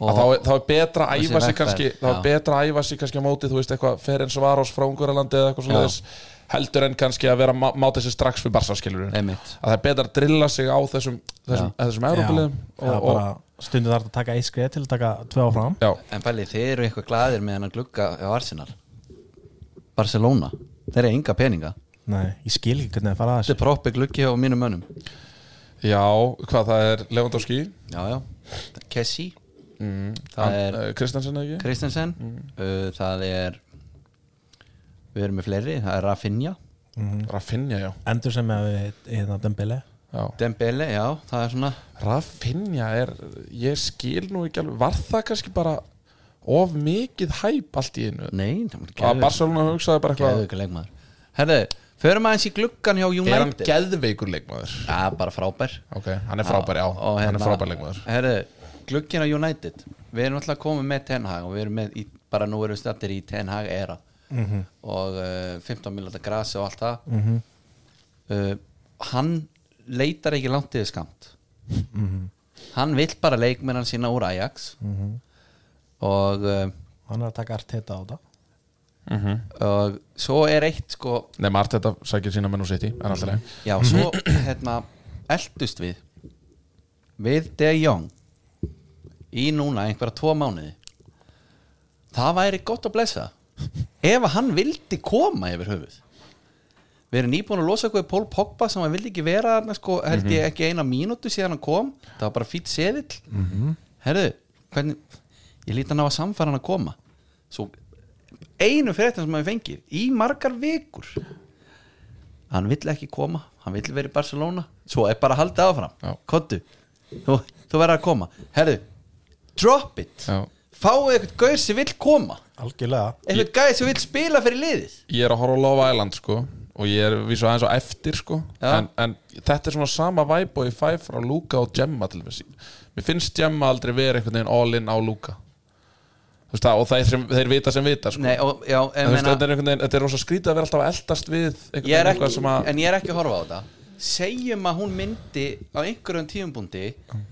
S2: og
S3: Mm. að þá, er- þá er betra að
S2: Þessi
S3: æfa sig
S2: vegferð,
S3: kannski þá er
S2: já.
S3: betra að æfa sig kannski á móti þú veist eitthvað Ferenc Varos frá Ungurlandi eða eitthvað svona heldur en kannski að vera að má- máta sig strax fyrir barsaskilur að
S2: einmitt,
S3: það er betra að drilla sig á þessum þessum, þessum europilegum
S4: Já,
S3: og, og,
S4: bara stundum þarf að taka eitt skrið til að taka tvö áfram
S3: já,
S2: en fæli, þeir eru eitthvað glaðir með hennar glugga á Arsenal Barcelona, þeir eru enga peninga
S4: Nei, ég skil ekki hvernig það fara að
S2: þetta
S4: þessu
S2: er proppi gluggi á mínum mönnum
S3: já, hvað það er Lewandowski,
S2: já, já, Kessi það er
S3: hann- Mm. eh, Kristensen eða ekki
S2: Kristensen uh, það er við erum með fleiri, það er Rafinha
S4: Mhm.
S3: Rafinha, já,
S4: Endur sem að við hérna Dembele
S3: já.
S2: Dembele, já, það er svona
S3: Rafinha er, ég skil nú ekki alveg var það kannski bara of mikið hæp allt í einu
S2: nei, það
S3: að
S2: er
S3: Barcelona hugsaði bara eitthvað
S2: geðvöku leikmaður herðu, förum aðeins í gluggan hjá
S3: er hann
S2: United
S3: geðveikur leikmaður
S2: já, bara frábær
S3: Ok, hann er frábær, já,
S2: Og
S3: hann er
S2: hérna,
S3: frábær leikmaður
S2: herðu, glugginn á United við erum alltaf komið með Ten Hag og við erum með í bara nú erum við stættir í Ten Hag era
S3: Mhm.
S2: og uh, 15 miljóta grasi og allt það uh, hann leitar ekki langt yfir skamt
S3: Mhm.
S2: hann vill bara leikmennan sína úr Ajax og uh,
S6: hann er að taka arteta á það
S3: Mhm.
S2: og svo er eitt sko
S3: Nei, Mart þetta sækir sína menn og sitt í En alltaf leið
S2: Já, svo hérna eldust við við De Jong í núna einhverja tvo mánuði það væri gott að blessa ef að hann vildi koma yfir höfuð við erum nýbúin að losa eitthvað við Pól Pogba sem hann vildi ekki vera þarna sko, held ég ekki eina mínútu síðan hann kom það var bara fýtt seðill herðu, hvernig ég líti hann á að samfæra hann að koma svo einu fréttum sem hann fengið í margar vikur hann vill ekki koma, hann vill vera í Barcelona svo er bara að halda
S3: Já.
S2: áfram kontu, þú, þú verður að koma herðu, drop it
S3: Já.
S2: fáið eitthvað gauð sem vill koma
S6: algjörlega
S2: eitthvað gauð sem vill spila fyrir liðið
S3: Ég er að horfa á Love Island sko Og ég er vísu aðeins á eftir sko
S2: Já.
S3: en, en þetta er svona sama væp og ég fæ frá Luka og Gemma til þessi Mér finnst Gemma aldrei verið einhvern veginn all in á Luka Þú veist það, og þeir, sem, þeir vita sem vita sko
S2: Nei, og, já, en
S3: En þú veist,
S2: meina,
S3: þetta er einhvern veginn, þetta er rosa skrítið að vera alltaf að eldast við
S2: ég er
S3: einhvern veginn
S2: ekki,
S3: eitthvað sem að
S2: en ég er ekki að horfa á þetta segjum að hún myndi á einhverjum tíumbúndi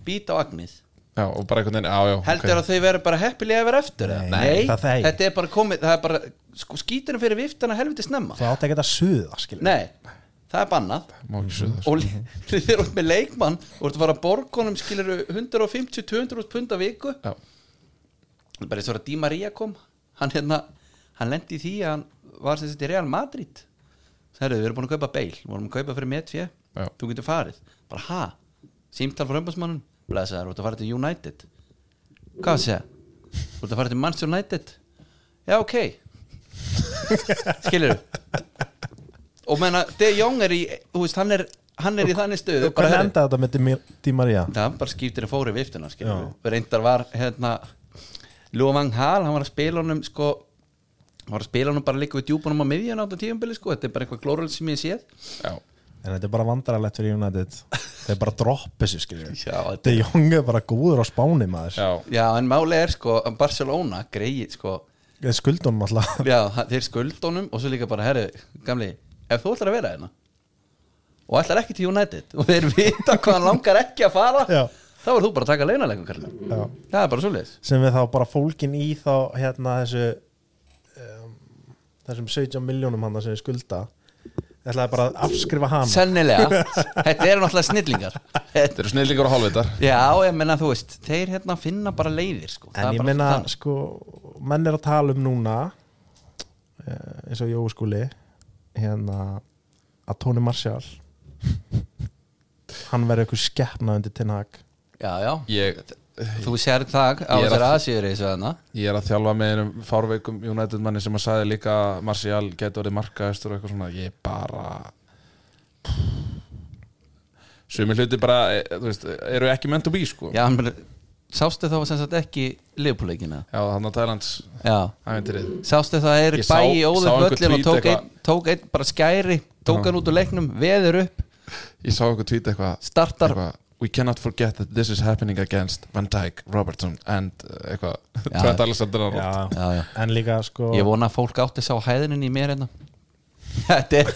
S2: býta á agnið
S3: Já, og bara einhvern veginn, já, já
S2: heldur
S3: ok.
S2: að þau verður bara heppilega yfir eftir nei,
S6: nei, það þeir.
S2: þetta er bara komið það er bara, sko, skíturinn fyrir viftana helviti snemma
S6: það átti ekki að suða skilur
S2: nei, það er bannað
S3: Má ekki suða sko.
S2: og li- þeir eru með leikmann og þú ert að fara að borgunum skilur 150-200 pund að viku
S3: Já.
S2: bara eins og að Di Maria kom hann hérna, hann lendi í því að hann var sem sagt í Real Madrid Herru, við erum búin að kaupa beil, við vorum að kaupa fyrir metfjö
S3: Já.
S2: þú getur farið, bara ha símtal frá umbásmannun, blæsaðar þú ert að fara til United hvað að segja, þú ert að fara til Manchester United já ok [LAUGHS] skilur og menna, De Jong er í þú veist, hann er, hann er í þannig stöðu bara,
S6: hvernig
S2: herru,
S6: endaði þetta með Di- Di Maria
S2: það bara skiptir að fóri viftuna skilur. reyndar var hérna Lúfang Hall, hann var að spila honum sko, hann var að spila honum bara líka við djúpunum á miðjun átt á tíumbili sko, þetta er bara eitthvað glóruð sem ég séð
S3: Já,
S6: en þetta er bara vandrarlegt fyrir United þeir bara droppa þessu skilur
S2: Já, þetta-
S6: þetta er jónga bara góður á spáni maður
S3: já,
S2: já, en máli er sko, að Barcelona greið
S6: [LAUGHS]
S2: sko,
S6: þeir skuldunum alltaf
S2: já, hann- þeir skuldunum og svo líka bara, herru, gamli ef þú ætlar að vera hérna og ætlar ekki til United og þeir vita hvað hann langar ekki að fara
S6: Já.
S2: þá er þú bara að taka launalegum kallum
S6: Já.
S2: það er bara svoleiðis
S6: sem er þá bara fólkin í þá hérna þessu um, þessum 17 miljónum hann sem við skulda ætlaði bara að afskrifa hana
S2: sennilega, þetta eru náttúrulega snillingar þetta
S3: þeir eru snillingur og hálfvitar
S2: Já, ég menna þú veist, þeir hérna finna bara leiðir sko. Það
S6: en
S2: er
S6: ég
S2: bara
S6: meina
S2: þannig.
S6: sko menn er að tala um núna eh, eins og Jói skúli hérna að Tony Marshall [LAUGHS] hann verður eitthvað skeppna undir Tinhag
S2: Já, já,
S3: Ég,
S2: þú sér það á hérna.
S3: Ég er
S2: þessar
S3: að-
S2: aðsýri þessu þarna
S3: ég er að þjálfa með einum fárveikum United manni sem að sagði líka að Martial getur orðið markaðistur og eitthvað svona Ég bara Sumi hluti bara, eh, þú veist, eru ekki meant to be sko
S2: Já, hann bara, sástu þá sem sagt ekki liðpúleikina
S3: já þannig að Thailands,
S2: Já,
S3: æventirið
S2: sástu það er
S3: Ég sá-
S2: bæi
S3: sá
S2: óður
S3: einhver
S2: völlin og
S3: tweet
S2: tók
S3: eitthvað.
S2: einn, tók einn bara skæri tók hann út úr leiknum, veður upp
S3: Ég sá eitthvað tweet eitthvað
S2: startar,
S3: eitthvað, We cannot forget that this is happening against Van Dijk, Robertson and uh, eitthvað,
S2: Já.
S3: [LAUGHS] Trent Alexander-Arnold
S2: já, já.
S6: en líka sko
S2: Ég vona að fólk átti sá hæðinin í mér hérna [LAUGHS] Þetta er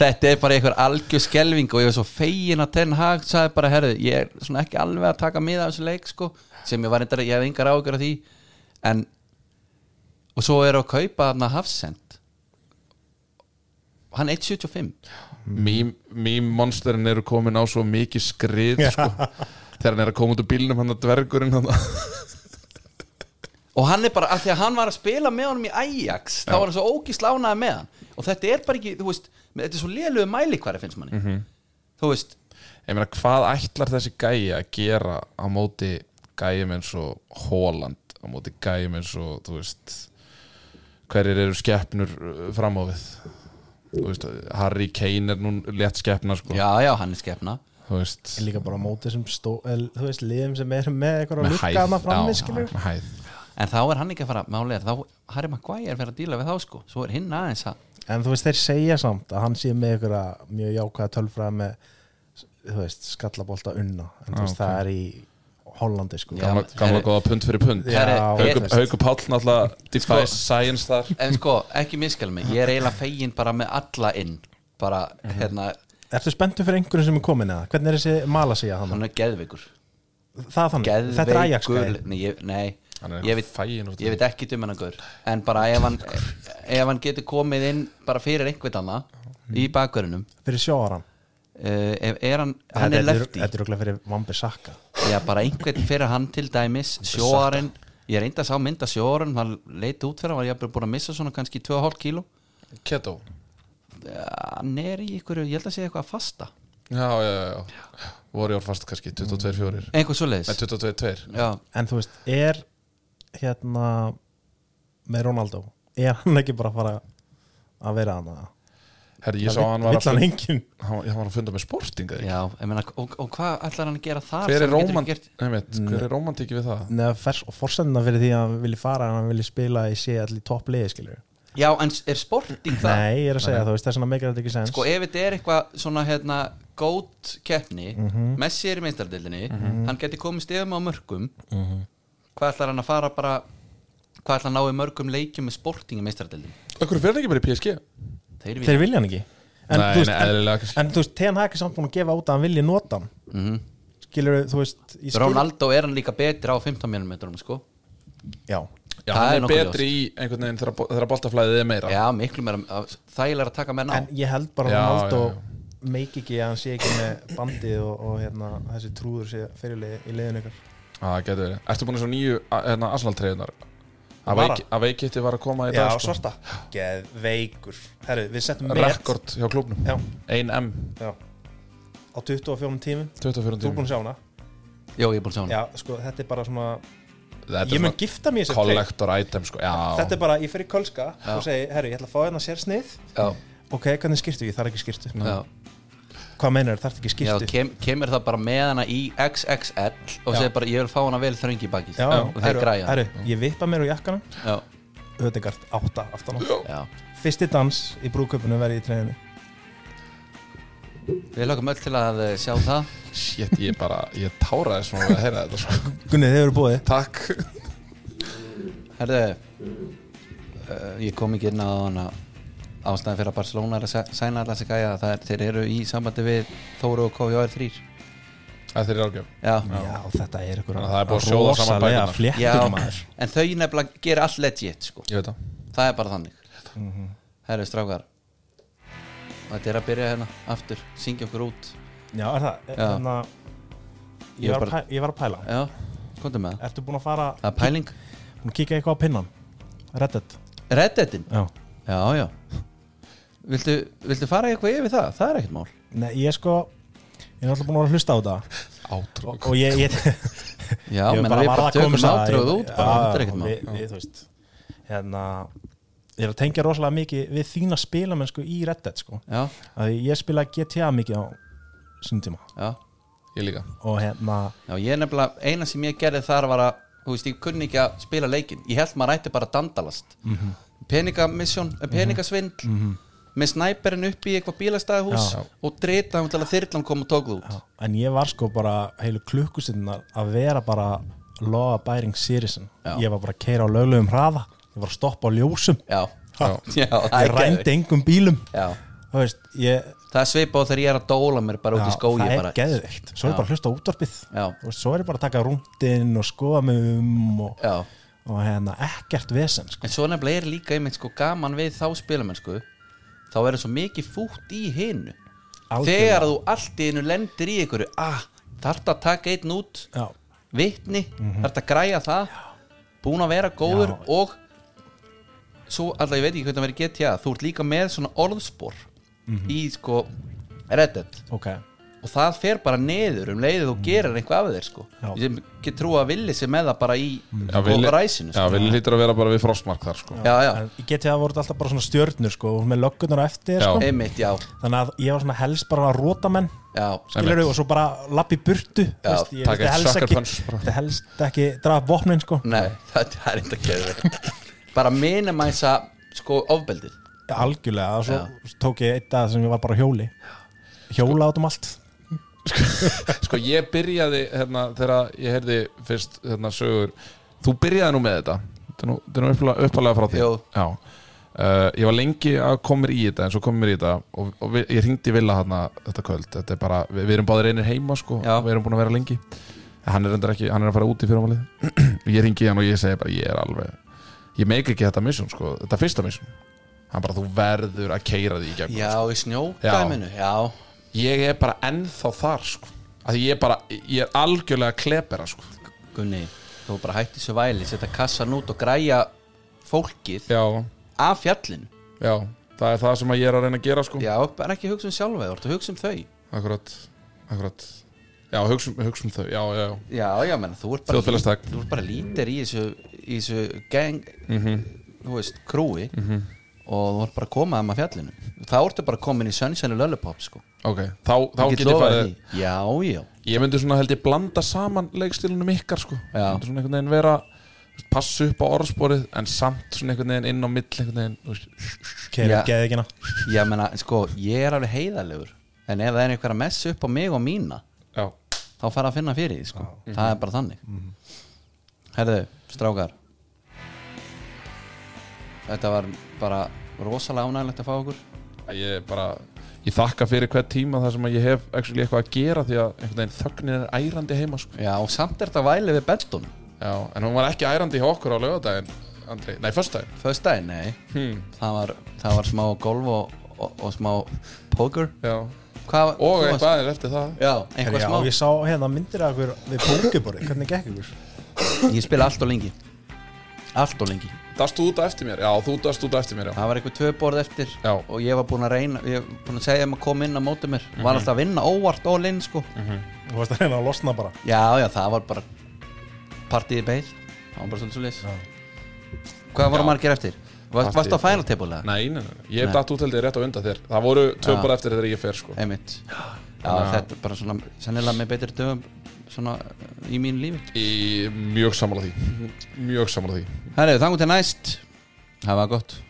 S2: Þetta er bara einhver algjör skelving og ég var svo fegin að Ten Hag sagði bara, herðu, ég er svona ekki alveg að taka mið af þessu leik, sko, sem ég var reyndar ég hef engar ágjör af því en, og svo er að kaupa þarna Hafsend hann er 1.75
S3: Mím- Mím-monsterin eru komin á svo mikið skrið sko. þegar hann er að koma út úr bílnum hann að dvergurinn hann
S2: og hann er bara, af því að hann var að spila með honum í Ajax, þá
S3: Já.
S2: var hann svo ógist lánaði með hann og þetta er bara ekki, þú veist þetta er svo lélugu mæli hvar finnst manni þú veist,
S3: ég meina hvað ætlar þessi gæi að gera á móti gæjum eins og Holland á móti gæjum eins og þú veist hverjir eru skeppnur uh, fram á við þú veist Harry Kane er nú létt skeppna sko
S2: já, já, hann er skefna
S3: þú veist
S6: En líka bara á móti sem stó, el, þú veist, liðum sem er með eitthvað að
S3: með
S6: lukka
S3: hæð,
S6: hana frammi,
S3: já,
S6: skilur
S3: með hæð.
S2: en þá er hann ekki að fara málega þá Harry Maguire fyrir að díla við þá sko svo er hinn aðeins að
S6: en þú veist, þeir segja samt að hann sé með eitthvað mjög jákvæða tölfræða með þú veist, skallabolta unna en þú veist, það er í
S4: Hollandi sko
S2: Já.
S3: Gamla, gamla
S2: herri.
S3: góða pund fyrir pund
S2: Já,
S3: Hauku,
S2: ég-
S3: Hauku Páll náttúrulega Defy Science þar
S2: En sko, ekki miskjál mig Ég er eiginlega fegin bara með alla inn Bara,
S4: Mhm.
S2: hérna,
S4: Ertu spenntu fyrir einhverjum sem er komin eða? Hvernig er þessi Malasia hann?
S2: hann er geðveikur
S4: Það er þannig,
S2: Geðveikur
S4: þetta er Ajax gæði
S2: Nei, ég,
S3: Hann
S2: nei
S3: er
S2: ég, veit,
S3: faginn úr því.
S2: ég veit ekki um hennan gaur En bara ef hann, ef hann getur komið inn Bara fyrir einhvern annað Í
S4: Mhm.
S2: bakverðinum
S4: Fyrir sjóaran
S2: uh, ef- Er hann, hann er lefti
S4: Þetta er okkur fyrir Vambi Saka
S2: Já, bara einhvern fyrir hann til dæmis Sjóarinn Ég reyndi að sá mynda sjóarinn Hann leiti út fyrir hann Var ég búin að missa svona kannski 2,5 kíló
S3: Keto
S2: Hann er í ykkur Ég held að segja eitthvað að fasta
S3: Já, já, já, já Warrior fast kannski 22-4
S2: Einhvern svoleiðis
S3: Nei, 22-2
S2: Já,
S4: En þú veist, er hérna með Ronaldo er hann ekki bara að fara að vera hann að
S3: Herri, ég sá að hann var
S4: vill
S3: að
S4: hann
S3: funda,
S4: engin
S3: hann, hann var að funda með sporting eða ekki?
S2: já ég meina, og, og hvað ætlar hann að gera þar
S3: Hver
S2: sem
S3: er
S2: hann getur
S3: rómant
S2: ekki gert?
S3: Nei, veit, hver er romantíki við það?
S4: neða fers og forsendina fyrir því að hann vilji fara en hann vilji spila í sé allir toppliði skilur
S2: Já, en s- er sporting það?
S4: Nei, ég er að segja þú veist þess að meikir þetta ekki sens
S2: Sko, ef þetta er eitthvað svona hérna gótt keppni
S4: Mhm.
S2: Messi er í meistardildinni Hann getur komið stegum á mörgum
S4: Mhm.
S2: Hvað ætlar hann að fara bara Hvað ætlar hann að ná í mörgum leikjum með sporting í meistardildinni?
S3: Okkur fyrir ekki bara í PSG
S2: Þeir vilja
S4: þeir vilja hann ekki en,
S3: Nei,
S4: þú veist,
S3: nei,
S4: en,
S3: eðlilega kannski
S4: en þú veist, TNH er samt búin að gefa út að hann vilji nota hann
S3: Mhm.
S4: skilur þú veist ég skil-
S2: Ronaldo er hann líka betri á 15 mm sko.
S4: Já,
S3: Já,
S2: það
S3: hann
S2: er
S3: er
S2: nokkuð
S3: betri í einhvern veginn þegar bo- þegar boltaflæðið er meira
S2: Já, miklu meira að- þægilega að taka menn á
S4: en ég held bara að
S3: Já,
S4: Ronaldo
S3: já,
S4: meik ekki að hann sé ekki með bandið og, og hérna, þessi trúður sé fyrirlið í leiðinu ykkur
S3: Já, það getur verið Ertu búin að svo nýju hérna, Arsenal-treyðunar?
S4: Bara.
S3: Að veikitti var að koma í
S4: Já,
S3: dag sko.
S4: svarta Geð veikur Herru, við settum met
S3: Rekord hjá klubnum
S4: Já,
S3: 1M,
S4: já Á 24 tímum,
S3: 24
S4: þú er búin
S3: tíma
S4: að sjá hana
S2: Jó, ég er búin að sjá hann
S4: Já, sko, þetta er bara svona
S3: Þetta er
S4: Ég mun
S3: svona
S4: gifta mér í þessi treyju.
S3: collector item sko Já,
S4: Þetta er bara, ég fer í kölska og segi, herru, ég ætla að fá hérna sérsnið
S2: Já,
S4: Ok, hvernig skýrtu? Ég þarf ekki skýrtu
S2: já,
S4: Hvað meinar, þarf ekki
S2: já
S4: skýrtu?
S2: kem, Kemur það bara með hana í XXL Og segir bara, ég vil fá hana vel þröngi í bakið Og þeir
S4: herru,
S2: græja
S4: herru, ég vippa mér úr jakkana
S2: Já,
S4: Ödegard, átta aftan á
S2: já
S4: Fyrsti dans í brúköpunum verði í treyjunni
S2: Við lögum öll til að eh, sjá það
S3: shit, ég bara Ég táraði svona við að heyra þetta
S4: [LAUGHS]
S3: sko.
S4: Gunnið, þið eru búið
S3: Takk
S2: Herðu uh, Ég kom ekki inn á hana ástæðan fyrir að Barcelona er að sæ- sæna allas að gæja það er, þeir eru í sambandi við Þóru og KVR 3
S3: Það er ágjöf
S2: Já,
S4: Já, þetta er ykkur
S3: Þannig að það er búið að sjóða saman
S4: rosalega
S3: bækurnar.
S2: já
S4: fléttur maður
S2: en þau nefnilega gera allt legit sko.
S3: Ég veit það
S2: það er bara þannig
S4: Mhm.
S2: Herðu strákar Þetta er að byrja hérna aftur syngja okkur út
S4: Já, er það?
S2: Já.
S4: Þannig að
S2: Ég
S4: ég var,
S2: bara-
S4: bara... ég var að pæla
S2: Já, komdu með það
S4: Ertu búin að fara
S2: Það er pæling
S4: Búin að kíka eitthvað á pinnan? Reddit
S2: Reddetin
S4: Já
S2: Já, já Viltu, viltu fara eitthvað yfir það? Það er ekkert mál
S4: Nei, ég sko Ég er alltaf búin að vera að hlusta á þetta
S3: Átrú
S4: Og ég, ég,
S2: Já,
S4: ég
S2: menn við
S4: varð
S2: bara
S4: að
S2: tökum
S4: komast að-
S2: átröðu út bara,
S4: Já,
S2: þetta er ekkert mál
S4: við- við, Þú veist Hérna Ég er að tengja rosalega mikið við þína spilamennsku í Reddit sko
S2: Já,
S4: Að ég spila GTA mikið á sinni tíma
S2: já
S3: Ég líka
S4: Og hérna
S2: Já, ég er nefnilega, eina sem ég gerði þar var að þú veist, ég kunni ekki að spila leikin ég held maður ætti bara að dandalast mm
S4: Mhm.
S2: -hmm. peningamissjón, eh, peningasvindl með snæperin upp í eitthvað bílastæðahús
S4: Já.
S2: og drita hann til að þyrlan kom og tók þú út
S4: En ég var sko bara heilu klukkustinnar að vera bara law abiding citizen
S2: Já.
S4: Ég var bara að keira á löglegum hraða Ég var að stoppa á ljósum
S2: Já,
S4: Ha.
S2: já, það
S4: Ég
S2: er
S4: rændi
S2: geðvikt
S4: engum bílum
S2: Já,
S4: Þú veist, ég,
S2: það er svipað og þegar ég er að dóla mér bara út í
S4: já,
S2: skói
S4: það
S2: bara,
S4: er geðveikt Svo er
S2: Já.
S4: bara að hlusta á útvarpið
S2: Já.
S4: Þú veist, Svo er bara að taka rúndin og skoða mig um og,
S2: Já,
S4: og hérna ekkert vesen sko.
S2: en svo nefnilega er líka einmitt sko gaman við þá spilamennsku þá er það svo mikið fútt í hinu
S4: Algjörlega.
S2: þegar þú allt í einu lendir í einhverju ah, þarft að taka einn út
S4: Já,
S2: vitni, mm þarft að græja það búin að vera góður
S4: Mhm. Já.
S2: og svo alltaf ég veit ekki hvernig það verið GTA þú ert líka með svona orðspor
S4: Mhm.
S2: í sko reddit
S4: ok
S2: og það fer bara neður um leiðið þú gerir eitthvað af þeir sko
S4: Mhm. Já. Mhm.
S2: ég get trú að villi sér með það bara í
S3: Já,
S2: sko,
S3: Villi-
S2: ræsinu
S3: Já,
S2: sko.
S3: við lítur að vera bara við frostmark þar sko
S2: já, já,
S4: En Í GTA voru þetta alltaf bara svona stjörnur sko, og með löggunar á eftir
S3: Já.
S4: sko.
S2: einmitt, já,
S4: Þannig að ég var svona helst bara að róta menn
S2: já
S4: skilur og svo bara lapp í burtu
S2: Já,
S4: veist, ég
S3: taka eitt
S4: vildi helst
S3: sucker
S4: ekki-
S3: punch bara. Mm.
S4: vildi helst ekki draga vopnin sko
S2: nei, það það er eitthvað að bara minimæsa sko ofbeldið
S4: algjörlega, og svo tók ég eitt að sem ég var bara á hjóli hjóla átum um allt
S3: Sko ég byrjaði hérna þegar ég heyrði fyrst hérna sögur Þú byrjaði nú með þetta Þetta er nú, þetta er nú uppalega, uppalega frá því
S2: Jú.
S3: Já Uh, ég var lengi að koma mér í þetta en svo kom mér í þetta og, og við, ég hringdi Villa hérna þetta kvöld þetta er bara, við, við erum báðir einir heima sko
S2: Já.
S3: við erum búin að vera lengi hann er, reyndar ekki, hann er að fara út í fyrirvalið [CLEARS THROAT] ég hringi hann og ég segi bara ég er alveg ég meik ekki þetta mission sko þetta fyrsta mission hann bara þú verður að keira því í sko." gegn
S2: Já, í snjókæminu, já
S3: ég er bara ennþá þar sko. að ég er bara, ég er algjörlega klepera sko.
S2: Gunni, þú bara hætti svo væli setja kassan út og græja fólkið
S3: já,
S2: af fjallin
S3: já, það er það sem að ég er að reyna að gera sko.
S2: Já, bara ekki hugsa um sjálfa þér, þú hugsa um þau
S3: akkurat, akkurat já, hugsa um- hugsa um þau, já, já, já
S2: Já, já, menn, þú ert bara
S3: Þjóðfélagstak.
S2: Þú ert bara lítir í þessu, í þessu gang,
S3: Mhm.
S2: þú veist, krúi og þú ert bara að koma að maður fjallinu Þá ertu bara komin í Sunshine og Lollipop, sko
S3: ok, þá, þá
S2: Ég
S3: get ég
S2: lofað
S3: farið
S2: því. Já, já,
S3: ég myndi svona held ég blanda saman leikstilunum ykkar sko,
S2: Já.
S3: myndi svona einhvern veginn vera passu upp á orðsporið en samt svona einhvern veginn inn á mill einhvern veginn, þú veist,
S2: Já.
S4: Keirir geðikina
S2: já, menna, sko, ég er alveg heiðalegur En ef það er einhver að messa upp á mig og mína
S3: já,
S2: þá fara að finna fyrir því sko. það er bara þannig
S4: Mhm.
S2: herðu, strákar þetta var bara rosalega ánægilegt að fá okkur
S3: ég bara ég þakka fyrir hvert tíma þar sem að ég hef actually eitthvað að gera því að einhvern veginn þögnin er ærandi heima sko
S2: já, og samt er þetta væli við bentum
S3: Já, en hún var ekki ærandi hjá okkur á lögadaginn Andri, nei, föstudaginn
S2: föstudaginn, nei
S3: Hmm.
S2: það, var, það var smá golf og, og, og smá poker
S3: Já,
S2: Hvað,
S3: og
S2: þú varst-
S3: eitthvað aðeins eftir það
S2: já,
S4: Herri,
S2: eitthvað
S4: já,
S2: smá
S4: Ég sá hérna myndir af ykkur við pókubori Hvernig gekk ykkur?
S2: ég spila allt og lengi allt og lengi
S3: Dast út á eftir mér, já, þú dast út á eftir mér, já
S2: það var eitthvað tvö borð eftir
S3: Já.
S2: og ég var búinn að reyna ég var búinn að segja um að koma inn á móti mér
S3: Mhm.
S2: var alltaf að vinna óvart og linn sko
S4: Þú varst að reyna að losna bara
S2: Já, já, það var bara partíði beigð Það var bara svolítið svolítið Hvað voru
S3: Já.
S2: margir eftir? Varst,
S3: Partíið
S2: varst á
S3: beið.
S2: final table eða?
S3: Nei, nei, nei, nei. ég datt út heldur rétt á undan þér Það voru tvö
S2: Já.
S3: bara eftir þegar ég fer, sko
S2: Einmitt Já, þetta er bara svona sennilega með betri dögum svona uh, í mínu lífi
S3: Mhm. Í mjög sammála því Mjög sammála því
S2: Herrið, þangu til næst Það var gott